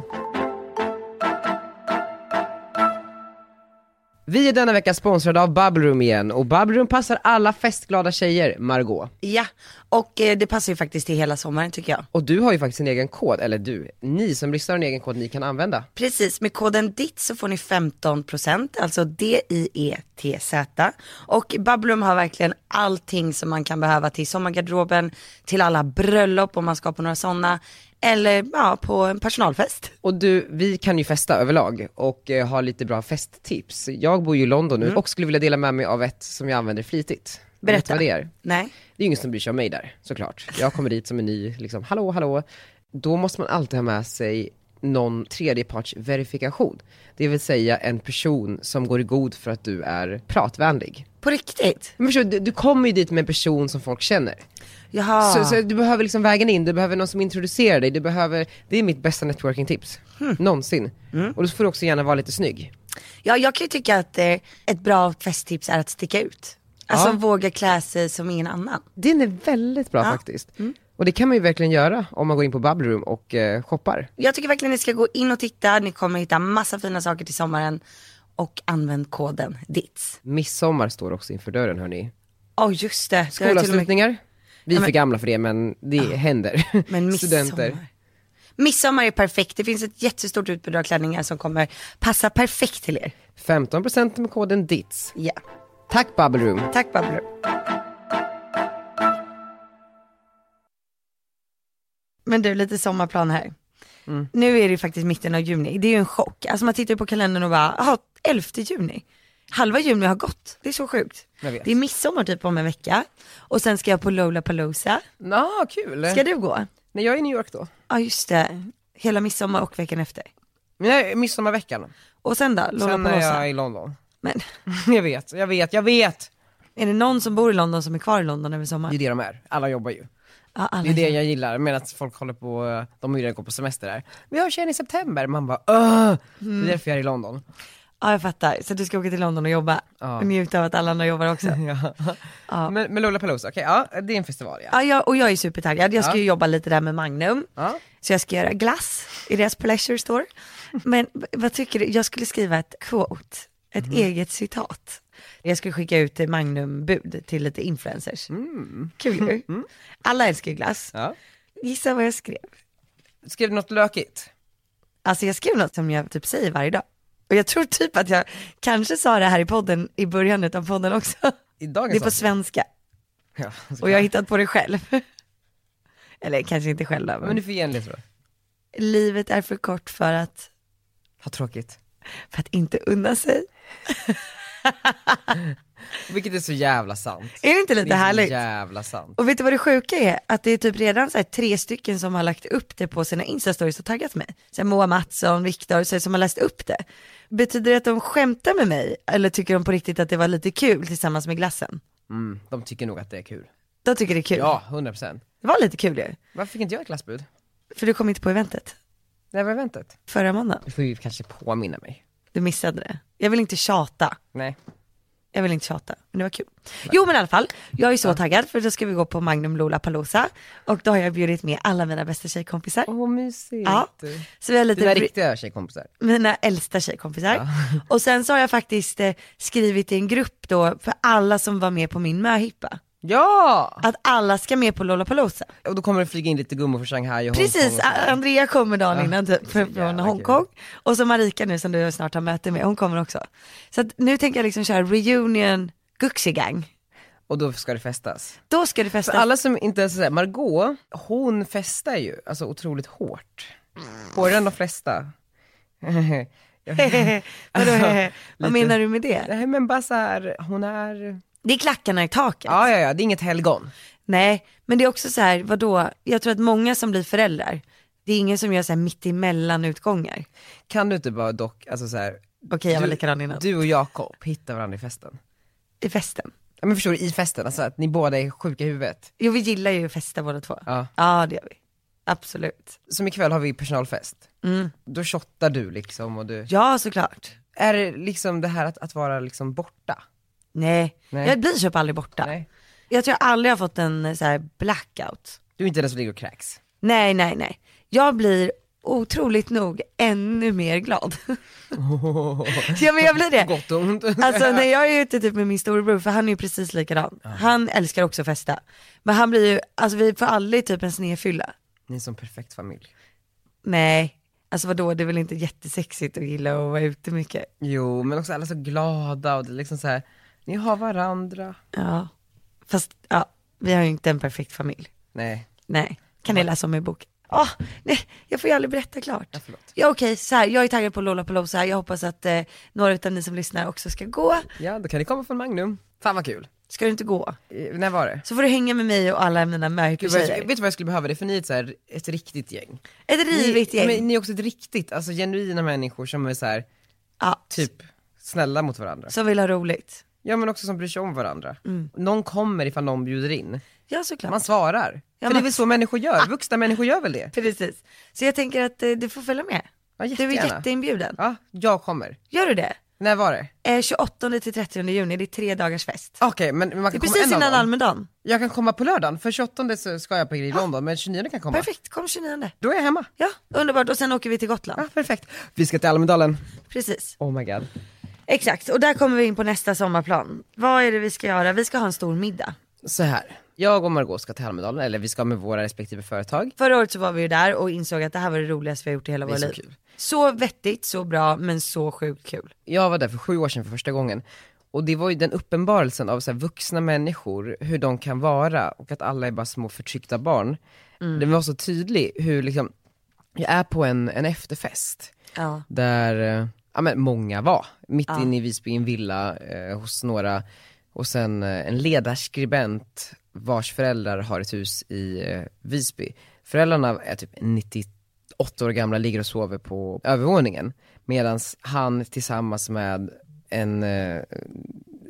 [SPEAKER 1] Vi är denna vecka sponsrade av Bubbleroom igen och Bubbleroom passar alla festglada tjejer, Margot.
[SPEAKER 2] Ja, och eh, det passar ju faktiskt till hela sommaren tycker jag.
[SPEAKER 1] Och du har ju faktiskt en egen kod, eller du, ni som lyssnar har en egen kod ni kan använda.
[SPEAKER 2] Precis, med koden DITT så får ni 15%, alltså D-I-E-T-Z. Och Babblum har verkligen allting som man kan behöva till sommargarderoben, till alla bröllop om man ska på några sådana, eller ja, på en personalfest.
[SPEAKER 1] Och du, vi kan ju festa överlag och eh, ha lite bra festtips. Jag bor ju i London nu och skulle vilja dela med mig av ett som jag använder flitigt.
[SPEAKER 2] Berätta.
[SPEAKER 1] Vet du vad det är?
[SPEAKER 2] Nej.
[SPEAKER 1] Det är ju ingen som bryr sig om mig där, såklart. Jag kommer dit som en ny, liksom, hallå, hallå. Då måste man alltid ha med sig någon tredjepartsverifikation. Det vill säga en person som går i god för att du är pratvänlig.
[SPEAKER 2] På riktigt?
[SPEAKER 1] Men förstår du, du, du kommer ju dit med en person som folk känner.
[SPEAKER 2] Jaha.
[SPEAKER 1] Så, så du behöver liksom vägen in, du behöver någon som introducerar dig, du behöver, det är mitt bästa networking-tips.
[SPEAKER 2] Hmm.
[SPEAKER 1] Någonsin.
[SPEAKER 2] Mm.
[SPEAKER 1] Och då får du också gärna vara lite snygg.
[SPEAKER 2] Ja, jag kan ju tycka att eh, ett bra festtips är att sticka ut. Alltså
[SPEAKER 1] Ja.
[SPEAKER 2] våga klä sig som ingen annan.
[SPEAKER 1] Den är väldigt bra faktiskt. Mm. Och det kan man ju verkligen göra om man går in på Bubbleroom och eh, shoppar.
[SPEAKER 2] Jag tycker verkligen ni ska gå in och titta, ni kommer hitta massa fina saker till sommaren. Och använd koden DITS.
[SPEAKER 1] Midsommar står också inför dörren hörni.
[SPEAKER 2] Ja just det. det har jag till och med-
[SPEAKER 1] Skolavslutningar. Vi är
[SPEAKER 2] men-
[SPEAKER 1] för gamla för det men det händer.
[SPEAKER 2] Men
[SPEAKER 1] [laughs]
[SPEAKER 2] midsommar.
[SPEAKER 1] Studenter.
[SPEAKER 2] Midsommar är perfekt, det finns ett jättestort utbud av klänningar som kommer passa perfekt till er.
[SPEAKER 1] 15% med koden DITS.
[SPEAKER 2] Ja,
[SPEAKER 1] Tack Bubbleroom.
[SPEAKER 2] tack Babblo. Men du, lite sommarplan här.
[SPEAKER 1] Mm.
[SPEAKER 2] Nu är det ju faktiskt mitten av juni, det är ju en chock. Alltså man tittar ju på kalendern och bara, jaha, 11 juni. Halva juni har gått, det är så sjukt.
[SPEAKER 1] Jag vet.
[SPEAKER 2] Det är midsommar typ om en vecka och sen ska jag på Lollapalooza.
[SPEAKER 1] Ja, kul.
[SPEAKER 2] Ska du gå?
[SPEAKER 1] När jag är i New York då?
[SPEAKER 2] Ja just det, hela midsommar och veckan efter.
[SPEAKER 1] Nej, midsommarveckan.
[SPEAKER 2] Och sen då,
[SPEAKER 1] Sen är
[SPEAKER 2] Lollapalooza?
[SPEAKER 1] jag i London. [laughs]
[SPEAKER 2] Men
[SPEAKER 1] Jag vet, jag vet, jag vet!
[SPEAKER 2] är det någon som bor i London som är kvar i London över
[SPEAKER 1] Det är
[SPEAKER 2] sommaren?
[SPEAKER 1] det de är, alla jobbar ju.
[SPEAKER 2] Ja, alla
[SPEAKER 1] Det är det jag gillar, medan folk håller på, de har ju redan gått på semester där. Vi hörs igen i september, man bara Åh! Det är därför jag är i
[SPEAKER 2] [laughs]
[SPEAKER 1] London.
[SPEAKER 2] ja, jag fattar. Så du ska åka till London och jobba och njuta av att alla andra jobbar också.
[SPEAKER 1] Ja. Men, men Lollapalooza, okej, ja, det är en festival ja.
[SPEAKER 2] Ja, jag, och jag är supertaggad. Jag ska ju jobba lite där med Magnum.
[SPEAKER 1] Ja.
[SPEAKER 2] Så jag ska göra glass i deras pleasure store. Men v- vad tycker du? Jag skulle skriva ett quote, ett eget citat. Jag skulle skicka ut eh, Magnum-bud till lite influencers. Kul ju. Alla älskar ju glass.
[SPEAKER 1] Ja.
[SPEAKER 2] Gissa vad jag skrev.
[SPEAKER 1] Skrev du något lökigt?
[SPEAKER 2] Alltså jag skrev något som jag typ säger varje dag. Och jag tror typ att jag kanske sa det här i podden i början av podden också.
[SPEAKER 1] I dagens
[SPEAKER 2] Det är på
[SPEAKER 1] avsnitt?
[SPEAKER 2] svenska
[SPEAKER 1] Ja,
[SPEAKER 2] och jag har hittat på det själv. [laughs] Eller kanske inte själv då,
[SPEAKER 1] Men
[SPEAKER 2] men
[SPEAKER 1] du får ge en lite då.
[SPEAKER 2] livet är för kort för att,
[SPEAKER 1] Ha tråkigt.
[SPEAKER 2] för att inte unna sig.
[SPEAKER 1] Vilket är så jävla sant.
[SPEAKER 2] Är det inte lite
[SPEAKER 1] Det är så
[SPEAKER 2] härligt?
[SPEAKER 1] jävla sant.
[SPEAKER 2] Och vet du vad det sjuka är? Att det är typ redan så här tre stycken som har lagt upp det på sina instastories och taggat mig. Så här Moa Mattsson, Viktor, så här, som har läst upp det. Betyder det att de skämtar med mig? Eller tycker de på riktigt att det var lite kul tillsammans med glassen?
[SPEAKER 1] Mm, de tycker nog att det är kul.
[SPEAKER 2] De tycker det är kul.
[SPEAKER 1] Ja, 100%.
[SPEAKER 2] Det var lite kul ju.
[SPEAKER 1] Varför fick inte jag ett glassbud?
[SPEAKER 2] För du kom inte på eventet
[SPEAKER 1] Det här var eventet.
[SPEAKER 2] förra måndagen.
[SPEAKER 1] Du får ju kanske påminna mig.
[SPEAKER 2] Du missade det. Jag vill inte tjata.
[SPEAKER 1] Nej.
[SPEAKER 2] Jag vill inte tjata, men det var kul. Jo men i alla fall, jag är så taggad för då ska vi gå på Magnum Lollapalooza och då har jag bjudit med alla mina bästa tjejkompisar.
[SPEAKER 1] Åh vad mysigt.
[SPEAKER 2] Ja. Så vi har lite
[SPEAKER 1] Dina
[SPEAKER 2] bri-
[SPEAKER 1] riktiga tjejkompisar.
[SPEAKER 2] mina äldsta tjejkompisar. [laughs] Och sen så har jag faktiskt eh, skrivit i en grupp då för alla som var med på min möhippa.
[SPEAKER 1] Ja!
[SPEAKER 2] Att alla ska med på Lollapalooza.
[SPEAKER 1] Och då kommer det flyga in lite gummor från Shanghai och
[SPEAKER 2] Precis,
[SPEAKER 1] Hongkong och sådär.
[SPEAKER 2] Andrea kommer dagen innan typ, från
[SPEAKER 1] jävla
[SPEAKER 2] Hongkong. Och så Marika nu som du snart har möte med, hon kommer också. Så att nu tänker jag liksom köra reunion Guxigang.
[SPEAKER 1] Och då ska det festas.
[SPEAKER 2] Då ska det
[SPEAKER 1] För
[SPEAKER 2] festas.
[SPEAKER 1] alla som inte ens såhär, Margot, hon festar ju alltså otroligt hårt. Hårdare än de flesta. [laughs]
[SPEAKER 2] [laughs] Vadå,
[SPEAKER 1] Alltså, lite-
[SPEAKER 2] vad menar du med det?
[SPEAKER 1] Nej men bara såhär, hon är...
[SPEAKER 2] Det är klackarna i taket.
[SPEAKER 1] Ja ja ja, det är inget helgon.
[SPEAKER 2] Nej, men det är också så här, vadå, jag tror att många som blir föräldrar, det är ingen som gör så här mittemellan utgångar.
[SPEAKER 1] Kan du inte bara dock, alltså såhär,
[SPEAKER 2] Okej, jag var
[SPEAKER 1] Du-
[SPEAKER 2] likadan innan.
[SPEAKER 1] du och Jakob hittar varandra i festen.
[SPEAKER 2] I festen.
[SPEAKER 1] Ja men förstår du, i festen, alltså att ni båda är sjuka i huvudet.
[SPEAKER 2] Jo, vi gillar ju att festa båda två.
[SPEAKER 1] Ja.
[SPEAKER 2] ja, det gör vi. Absolut.
[SPEAKER 1] Som ikväll har vi personalfest.
[SPEAKER 2] Mm.
[SPEAKER 1] Då shottar du liksom och du,
[SPEAKER 2] Ja, såklart.
[SPEAKER 1] är det liksom det här att, att vara liksom borta?
[SPEAKER 2] Nej,
[SPEAKER 1] Nej.
[SPEAKER 2] jag blir typ aldrig borta.
[SPEAKER 1] Nej.
[SPEAKER 2] Jag tror jag aldrig har fått en eh, så här blackout.
[SPEAKER 1] Du är inte den som ligger och kräks?
[SPEAKER 2] Nej, nej, nej. Jag blir otroligt nog ännu mer glad.
[SPEAKER 1] [laughs]
[SPEAKER 2] ja men jag blir det.
[SPEAKER 1] Gott och ont. [laughs]
[SPEAKER 2] Alltså när jag är ute typ med min storebror, för han är ju precis likadan. Han älskar också att festa. Men han blir ju, alltså vi får aldrig typ en snedfylla.
[SPEAKER 1] Ni är som perfekt familj.
[SPEAKER 2] Nej, alltså vadå det är väl inte jättesexigt att gilla att vara ute mycket.
[SPEAKER 1] Jo, men också alla så glada och det är liksom så här. ni har varandra.
[SPEAKER 2] Ja, fast ja, vi har ju inte en perfekt familj.
[SPEAKER 1] Nej,
[SPEAKER 2] Nej, kan ni läsa om i bok. Ah, nej, jag får ju aldrig berätta klart. Ja,
[SPEAKER 1] förlåt.
[SPEAKER 2] okej, så här, jag är taggad på Lollapalooza, jag hoppas att eh, några av ni som lyssnar också ska gå.
[SPEAKER 1] ja då kan det komma från Magnum. Fan vad kul.
[SPEAKER 2] Ska du inte gå?
[SPEAKER 1] Eh, när var det?
[SPEAKER 2] Så får du hänga med mig och alla mina
[SPEAKER 1] Gud, vad, jag-
[SPEAKER 2] Mercury-tjejer.
[SPEAKER 1] vet du vad jag skulle behöva? Det är för ni är ett, så här, ett riktigt gäng.
[SPEAKER 2] Ett rivigt
[SPEAKER 1] ni,
[SPEAKER 2] gäng.
[SPEAKER 1] Men ni är också ett riktigt, alltså genuina människor som är så här,
[SPEAKER 2] ja,
[SPEAKER 1] typ snälla mot varandra.
[SPEAKER 2] Som vill ha roligt.
[SPEAKER 1] Ja men också som bryr sig om varandra.
[SPEAKER 2] Mm.
[SPEAKER 1] Någon kommer ifall någon bjuder in.
[SPEAKER 2] Ja såklart.
[SPEAKER 1] Man svarar. för
[SPEAKER 2] men- Ah!
[SPEAKER 1] det är väl så människor gör, vuxna människor gör väl det?
[SPEAKER 2] Precis. Så jag tänker att eh, du får följa med.
[SPEAKER 1] Ja,
[SPEAKER 2] Du är
[SPEAKER 1] jättegärna.
[SPEAKER 2] jätteinbjuden.
[SPEAKER 1] Ja, jag kommer.
[SPEAKER 2] Gör du det?
[SPEAKER 1] När var det?
[SPEAKER 2] Eh, 28 till 30 juni, det är tre dagars fest.
[SPEAKER 1] Okej men man
[SPEAKER 2] Det
[SPEAKER 1] kan
[SPEAKER 2] är
[SPEAKER 1] komma
[SPEAKER 2] precis
[SPEAKER 1] en av
[SPEAKER 2] innan
[SPEAKER 1] dem.
[SPEAKER 2] Almedalen.
[SPEAKER 1] Jag kan komma på lördagen, för 28 så ska jag på Grill London, men 29 kan jag komma.
[SPEAKER 2] Perfekt, kom 29.
[SPEAKER 1] Då är jag hemma.
[SPEAKER 2] Ja, underbart. Och sen åker vi till Gotland.
[SPEAKER 1] Ja, perfekt. Vi ska till Almedalen.
[SPEAKER 2] Precis.
[SPEAKER 1] Oh my god.
[SPEAKER 2] Exakt, och där kommer vi in på nästa sommarplan. Vad är det vi ska göra? Vi ska ha en stor middag.
[SPEAKER 1] Så här. Jag och Margot ska till Almedalen, eller vi ska med våra respektive företag.
[SPEAKER 2] Förra året så var vi ju där och insåg att det här var det roligaste vi har gjort i hela
[SPEAKER 1] Det är
[SPEAKER 2] våra
[SPEAKER 1] så
[SPEAKER 2] liv.
[SPEAKER 1] kul.
[SPEAKER 2] Så vettigt, så bra, men så sjukt kul.
[SPEAKER 1] Jag var där för sju år sedan för första gången. Och det var ju den uppenbarelsen av så här, vuxna människor, hur de kan vara och att alla är bara små förtryckta barn.
[SPEAKER 2] Mm.
[SPEAKER 1] Det var så tydlig hur liksom, jag är på en, en efterfest.
[SPEAKER 2] Ja.
[SPEAKER 1] där eh, ja, men många var. Mitt inne i Visby i en villa eh, hos några och sen eh, en ledarskribent vars föräldrar har ett hus i eh, Visby. Föräldrarna är typ 98 år gamla, ligger och sover på övervåningen medan han tillsammans med en eh,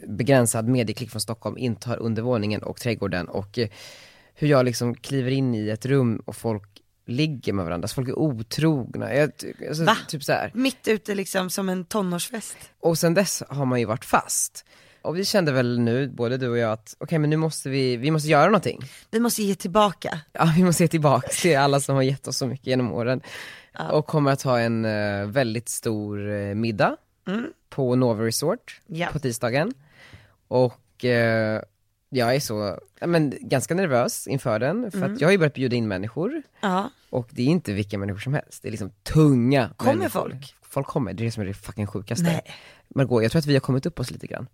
[SPEAKER 1] begränsad medieklick från Stockholm intar undervåningen och trädgården och eh, hur jag liksom kliver in i ett rum och folk ligger med varandra, så folk är otrogna. Jag, ty- alltså,
[SPEAKER 2] Va?
[SPEAKER 1] Typ så här.
[SPEAKER 2] Mitt ute liksom som en tonårsfest.
[SPEAKER 1] Och sen dess har man ju varit fast. Och vi kände väl nu, både du och jag, att okej men nu måste vi, vi måste göra någonting.
[SPEAKER 2] Vi måste ge tillbaka.
[SPEAKER 1] Ja, vi måste se tillbaka till alla som har gett oss så mycket genom åren. Och kommer att ha en eh, väldigt stor eh, middag på Nova Resort
[SPEAKER 2] Ja.
[SPEAKER 1] på tisdagen. Och eh, jag är så, ja, men, ganska nervös inför den, för att jag har ju börjat bjuda in människor.
[SPEAKER 2] Ja.
[SPEAKER 1] Och det är inte vilka människor som helst, det är liksom tunga
[SPEAKER 2] Kommer
[SPEAKER 1] människor.
[SPEAKER 2] folk?
[SPEAKER 1] Folk kommer, det är det som är det fucking sjukaste.
[SPEAKER 2] Nej.
[SPEAKER 1] Margot, jag tror att vi har kommit upp oss lite grann.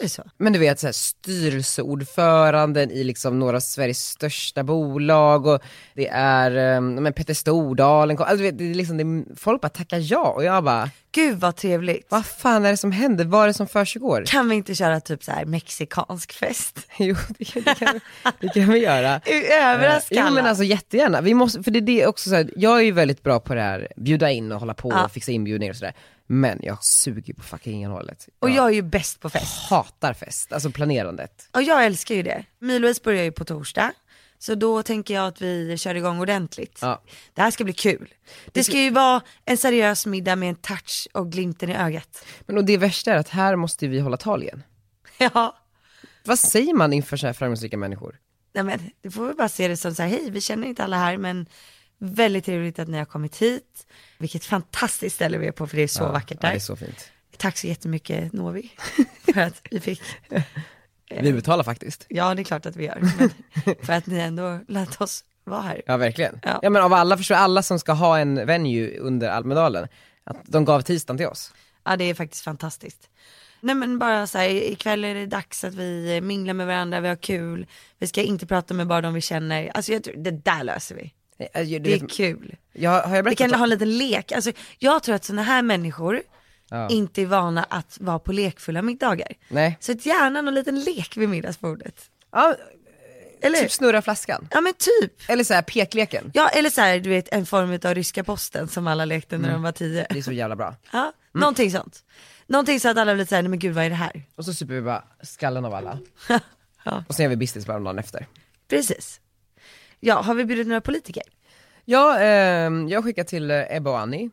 [SPEAKER 2] Är det så?
[SPEAKER 1] Men du vet så här, styrelseordföranden i liksom några av Sveriges största bolag och det är, eh, men Petter Stordalen, kom- alltså, du vet, det är liksom, det är, folk bara tackar ja och jag bara,
[SPEAKER 2] Gud vad trevligt.
[SPEAKER 1] vad fan är det som händer? Vad är det som försiggår? [laughs]
[SPEAKER 2] Kan vi inte köra typ så här mexikansk fest? [laughs]
[SPEAKER 1] jo, det kan, det, kan, det kan vi göra.
[SPEAKER 2] Överraska
[SPEAKER 1] Eh, Jo
[SPEAKER 2] alla.
[SPEAKER 1] men alltså jättegärna, vi måste, för det, det är också så här, jag är ju väldigt bra på det här, bjuda in och hålla på
[SPEAKER 2] Ja.
[SPEAKER 1] och fixa inbjudningar och sådär. Men jag suger på fucking innehållet.
[SPEAKER 2] Och jag är ju bäst på fest.
[SPEAKER 1] hatar fest, alltså planerandet.
[SPEAKER 2] Och jag älskar ju det. Milois börjar ju på torsdag. Så då tänker jag att vi kör igång ordentligt.
[SPEAKER 1] Ja.
[SPEAKER 2] Det här ska bli kul. Det ska ju vara en seriös middag med en touch och glimten i ögat.
[SPEAKER 1] [laughs] Men och det värsta är att här måste vi hålla tal igen.
[SPEAKER 2] Ja,
[SPEAKER 1] Vad säger man inför så här framgångsrika människor?
[SPEAKER 2] nej men det får vi bara se det som så här, hej vi känner inte alla här men väldigt trevligt att ni har kommit hit. Vilket fantastiskt ställe vi är på för det är så vackert
[SPEAKER 1] Ja,
[SPEAKER 2] där.
[SPEAKER 1] det är så fint.
[SPEAKER 2] Tack så jättemycket [laughs] Novi för att vi fick, Eh.
[SPEAKER 1] Vi betalar faktiskt.
[SPEAKER 2] ja det är klart att vi gör, [laughs] men för att ni ändå lät oss vara här.
[SPEAKER 1] Ja verkligen.
[SPEAKER 2] Ja.
[SPEAKER 1] Ja. men av alla, förstår alla som ska ha en venue under Almedalen, att de gav tisdagen till oss.
[SPEAKER 2] Ja det är faktiskt fantastiskt. Nej men bara så här, ikväll är det dags att vi minglar med varandra, vi har kul, vi ska inte prata med bara de vi känner. Alltså jag tror, det där löser vi.
[SPEAKER 1] Eh, eh, du
[SPEAKER 2] Det är
[SPEAKER 1] vet-
[SPEAKER 2] kul.
[SPEAKER 1] jag, har jag
[SPEAKER 2] Vi
[SPEAKER 1] berättat?
[SPEAKER 2] kan
[SPEAKER 1] om-
[SPEAKER 2] ha en liten lek. Alltså jag tror att sådana här människor inte är vana att vara på lekfulla middagar.
[SPEAKER 1] Nej.
[SPEAKER 2] Så att gärna någon liten lek vid middagsbordet.
[SPEAKER 1] Ja,
[SPEAKER 2] Eller
[SPEAKER 1] typ snurra flaskan.
[SPEAKER 2] Ja men typ.
[SPEAKER 1] Eller så här pekleken.
[SPEAKER 2] Ja eller så här, du vet en form av ryska posten som alla lekte när de var tio.
[SPEAKER 1] Mm. Det Mm. är så jävla bra.
[SPEAKER 2] Ja, någonting sånt. Någonting så att alla blir såhär, nej men gud vad är det här?
[SPEAKER 1] Och så super vi bara skallen av [laughs] alla.
[SPEAKER 2] Ja.
[SPEAKER 1] Och sen gör vi business bara dagen efter.
[SPEAKER 2] Precis. Ja, har vi bjudit några politiker?
[SPEAKER 1] Ja, ehm, jag skickar till eh, Ebba och Annie.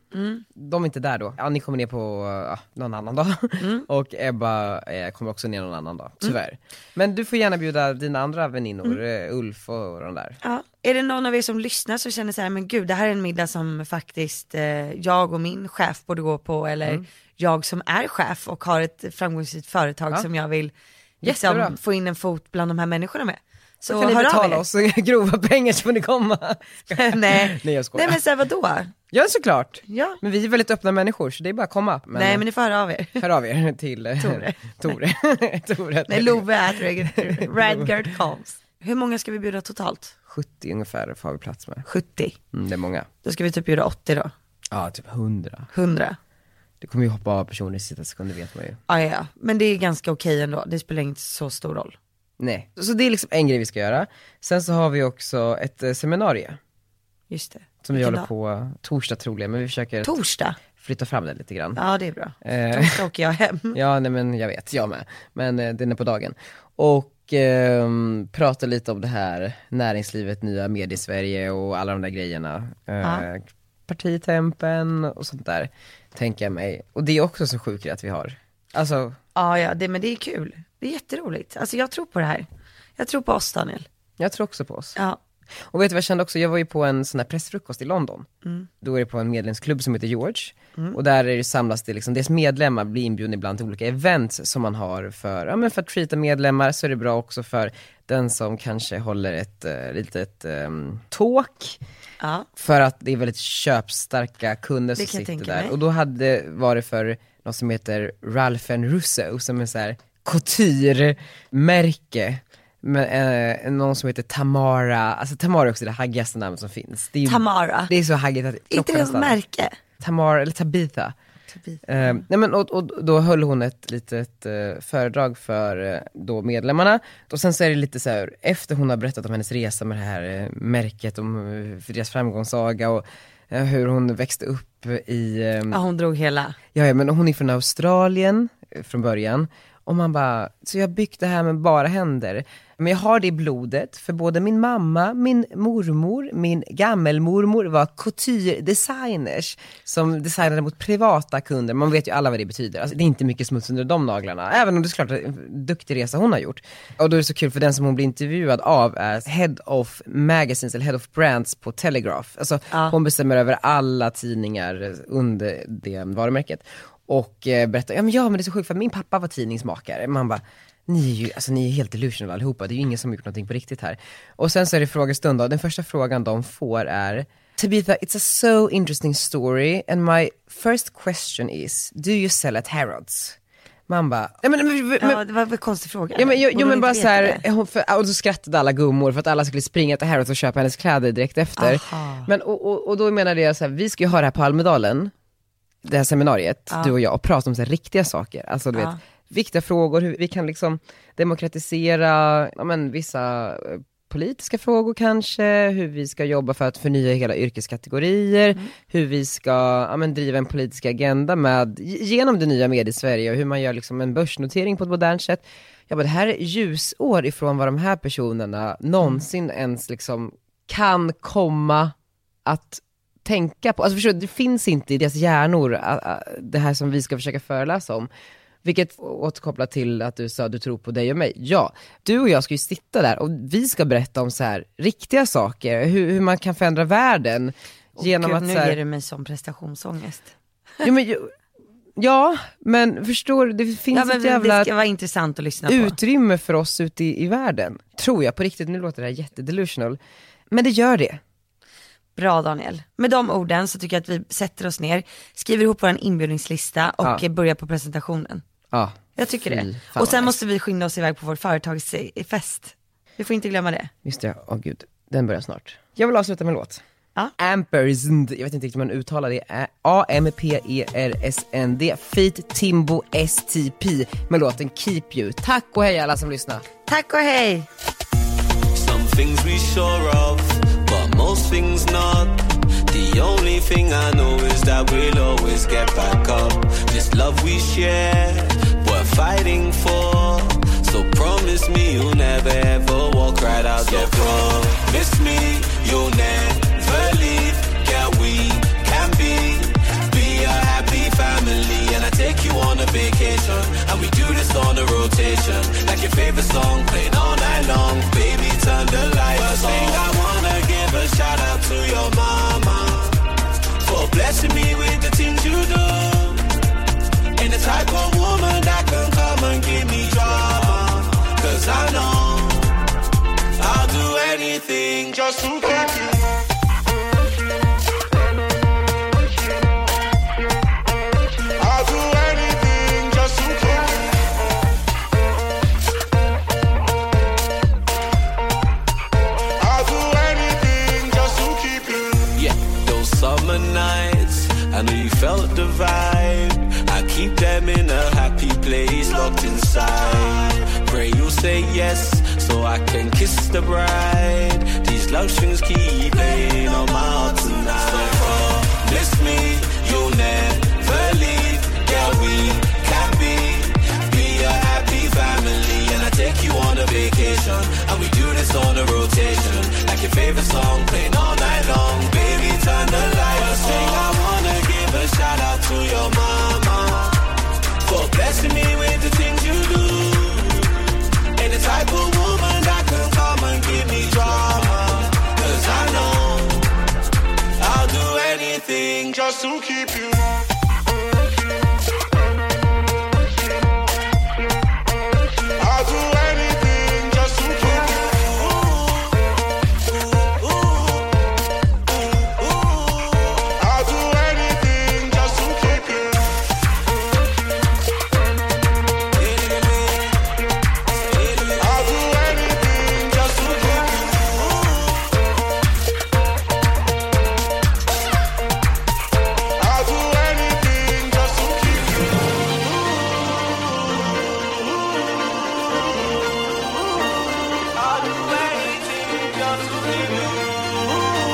[SPEAKER 1] De är inte där då. Annie kommer ner på eh, någon annan dag [laughs] och Ebba eh, kommer också ner någon annan dag, tyvärr. Men du får gärna bjuda dina andra väninnor, eh, Ulf och de där.
[SPEAKER 2] Ja. Är det någon av er som lyssnar som känner så här, men gud det här är en middag som faktiskt eh, jag och min chef borde gå på eller
[SPEAKER 1] Mm.
[SPEAKER 2] jag som är chef och har ett framgångsrikt företag
[SPEAKER 1] Ja.
[SPEAKER 2] som jag vill liksom,
[SPEAKER 1] Jättebra.
[SPEAKER 2] få in en fot bland de här människorna med. Så
[SPEAKER 1] Då kan ni
[SPEAKER 2] hör av
[SPEAKER 1] betala
[SPEAKER 2] er.
[SPEAKER 1] oss [laughs] grova pengar så får ni komma.
[SPEAKER 2] [laughs] Nej.
[SPEAKER 1] [laughs] Nej jag skojar.
[SPEAKER 2] Nej men så här, vadå?
[SPEAKER 1] Ja såklart.
[SPEAKER 2] Ja.
[SPEAKER 1] Men vi är väldigt öppna människor så det är bara att komma. Men, eh,
[SPEAKER 2] Nej men ni får höra av er.
[SPEAKER 1] Hör av er till eh,
[SPEAKER 2] Tore.
[SPEAKER 1] [laughs] Tore. Tore.
[SPEAKER 2] Nej Love at [laughs] Reg- Radgard Combs. Hur många ska vi bjuda totalt?
[SPEAKER 1] [laughs] 70 ungefär får vi plats med.
[SPEAKER 2] 70.
[SPEAKER 1] Mm, det är många.
[SPEAKER 2] Då ska vi typ bjuda 80 då.
[SPEAKER 1] Ja, typ 100.
[SPEAKER 2] 100.
[SPEAKER 1] Det kommer ju hoppa av personer i sista sekund, det vet man ju.
[SPEAKER 2] Ah, ja, ja, men det är ganska okej ändå. Det spelar inte så stor roll.
[SPEAKER 1] Nej, så det är liksom en grej vi ska göra. Sen så har vi också ett eh, seminarium
[SPEAKER 2] Just det.
[SPEAKER 1] som vi
[SPEAKER 2] Vilken
[SPEAKER 1] håller
[SPEAKER 2] dag?
[SPEAKER 1] på torsdag troligen, men vi försöker att
[SPEAKER 2] Torsdag.
[SPEAKER 1] flytta fram det lite grann.
[SPEAKER 2] Ja det är bra.
[SPEAKER 1] Eh,
[SPEAKER 2] Torsdag åker jag hem. [laughs]
[SPEAKER 1] ja, nej men jag vet, jag med. Men eh, den är på dagen. Och ehm, prata lite om det här näringslivet, nya mediesverige och alla de där grejerna. Eh,
[SPEAKER 2] Ja.
[SPEAKER 1] Partitempen och sånt där, tänker jag mig. Och det är också så sjuk grej att vi har. Alltså,
[SPEAKER 2] Ah, Ja ja, det, men det är kul. Det är jätteroligt. Alltså jag tror på det här. Jag tror på oss Daniel.
[SPEAKER 1] jag tror också på oss.
[SPEAKER 2] Ja.
[SPEAKER 1] Och vet du vad jag kände också? Jag var ju på en sån här pressfrukost i London. Då är det på en medlemsklubb som heter George. Och där är det samlas det liksom, deras medlemmar blir inbjudna ibland till olika events som man har för, ja men för att treata medlemmar så är det bra också för den som kanske håller ett eh, litet um, talk.
[SPEAKER 2] ja.
[SPEAKER 1] För att det är väldigt köpstarka kunder som
[SPEAKER 2] Det kan jag
[SPEAKER 1] sitter
[SPEAKER 2] tänka
[SPEAKER 1] där.
[SPEAKER 2] mig.
[SPEAKER 1] Och då hade, var det för något som heter Ralph and Russo, som är så här couture-märke. Men, eh, någon som heter Tamara, alltså Tamara är också det haggigaste namnet som finns. Det är, ju-
[SPEAKER 2] Tamara.
[SPEAKER 1] Det är så haggigt att
[SPEAKER 2] Inte
[SPEAKER 1] klockan
[SPEAKER 2] det ett
[SPEAKER 1] stannar.
[SPEAKER 2] märke?
[SPEAKER 1] Tamara, eller Tabitha. Eh, nej men, och, och då höll hon ett litet eh, föredrag för eh, då medlemmarna. Och sen så är det lite så här, efter hon har berättat om hennes resa med det här eh, märket, om eh, för deras framgångssaga och eh, hur hon växte upp i, eh,
[SPEAKER 2] Ja hon drog hela.
[SPEAKER 1] ja, ja men hon är från Australien eh, från början. Och man bara, så jag har byggt det här med bara händer. Men jag har det i blodet, för både min mamma, min mormor, min gammelmormor var couture-designers som designade mot privata kunder. Man vet ju alla vad det betyder. Alltså, det är inte mycket smuts under de naglarna, även om det är såklart är en duktig resa hon har gjort. Och då är det så kul, för den som hon blir intervjuad av är head of magazines, eller head of brands på Telegraph. Alltså,
[SPEAKER 2] Ja.
[SPEAKER 1] hon bestämmer över alla tidningar under det varumärket. Och eh, berättar, ja men, ja men det är så sjukt för min pappa var tidningsmakare. Man bara, ni är ju alltså, ni är helt delusional allihopa, det är ju ingen som har gjort någonting på riktigt här. Och sen så är det frågestund då, den första frågan de får är Tabitha, it's a so interesting story and my first question is, do you sell at Harrods? Man bara, ja, men, men, men,
[SPEAKER 2] Ja det var väl en konstig fråga.
[SPEAKER 1] Ja men, jo,
[SPEAKER 2] Borde
[SPEAKER 1] jo,
[SPEAKER 2] vi
[SPEAKER 1] men bara
[SPEAKER 2] inte
[SPEAKER 1] så
[SPEAKER 2] veta det?
[SPEAKER 1] här, hon, för, och då skrattade alla gummor för att alla skulle springa till Harrods och köpa hennes kläder direkt efter.
[SPEAKER 2] Aha.
[SPEAKER 1] Men, och, och, och då menade jag så här, vi ska ju ha det här på Almedalen, det här seminariet, du och jag, och prata om så här riktiga saker. Alltså du vet,
[SPEAKER 2] Ja.
[SPEAKER 1] viktiga frågor, hur vi kan liksom demokratisera ja, men, vissa eh, politiska frågor kanske, hur vi ska jobba för att förnya hela yrkeskategorier, hur vi ska ja, men, driva en politisk agenda med, genom det nya mediesverige och hur man gör liksom en börsnotering på ett modernt sätt. Jag bara, det här är ljusår ifrån vad de här personerna någonsin ens liksom kan komma att tänka på. Alltså förstår du, det finns inte i deras hjärnor ä, ä, det här som vi ska försöka föreläsa om. Vilket återkopplar till att du sa att du tror på dig och mig. Ja, du och jag ska ju sitta där och vi ska berätta om så här riktiga saker, hur, hur man kan förändra världen.
[SPEAKER 2] Åh,
[SPEAKER 1] Genom
[SPEAKER 2] gud,
[SPEAKER 1] att
[SPEAKER 2] nu
[SPEAKER 1] så här,
[SPEAKER 2] ger du mig sån prestationsångest.
[SPEAKER 1] jo, men, ju- ja, men förstår du, det finns
[SPEAKER 2] Ja men
[SPEAKER 1] ett
[SPEAKER 2] vi-
[SPEAKER 1] jävla...
[SPEAKER 2] det ska vara intressant att lyssna på.
[SPEAKER 1] utrymme för oss ute i, i världen. Tror jag på riktigt, nu låter det här jättedelusional. Men det gör det.
[SPEAKER 2] Bra Daniel. Med de orden så tycker jag att vi sätter oss ner, skriver ihop vår inbjudningslista och
[SPEAKER 1] Ja.
[SPEAKER 2] eh, börjar på presentationen.
[SPEAKER 1] Ja.
[SPEAKER 2] Jag tycker
[SPEAKER 1] Fy
[SPEAKER 2] det.
[SPEAKER 1] fan
[SPEAKER 2] Och sen
[SPEAKER 1] vad
[SPEAKER 2] måste vi skynda oss iväg på vår företagsfest. Vi får inte glömma det.
[SPEAKER 1] Just det, åh gud, den börjar snart. Jag vill avsluta med en låt.
[SPEAKER 2] Ja.
[SPEAKER 1] Ampersnd, jag vet inte riktigt hur man uttalar det, Ä- E A-M-P-E-R-S-N-D, Feat Timbo STP med låten Keep You. Tack och hej alla som lyssnar.
[SPEAKER 2] Tack och hej!
[SPEAKER 3] Some things we sure of, but most things not. The only thing I know is that we'll always get back up. This love we share, we're fighting for. So promise me you'll never ever walk right out the door. Miss me, you'll never leave. passion, like your favorite song played all night long. Baby, turn the lights on. Thing I wanna give a shout out to your mama for blessing me with the things you do. And the type of woman that can come and give me drama, 'Cause I know I'll do anything just to keep you. I'll do anything just to keep you. I'll do anything just to keep you. Yeah, those summer nights, I know you felt the vibe. I keep them in a happy place, locked inside. Pray you say yes, so I can kiss the bride. These love strings keep playing on my heart tonight. So come, miss me, you'll never leave. Yeah, we can be, be a happy family. And I take you on a vacation, and we do this on a rotation. Like your favorite song, playing all night long. Baby, turn the lights on. I wanna give a shout out to your mama for blessing me with the things you do. And the type of woman that can come and give me drama. Cause I know I'll do anything just to keep you. I'll do anything just to keep you. Ooh, ooh, ooh, ooh. I'll do anything just to keep you. I'll do anything just to keep you. I'll do anything just to keep you. I'll do anything just to keep you.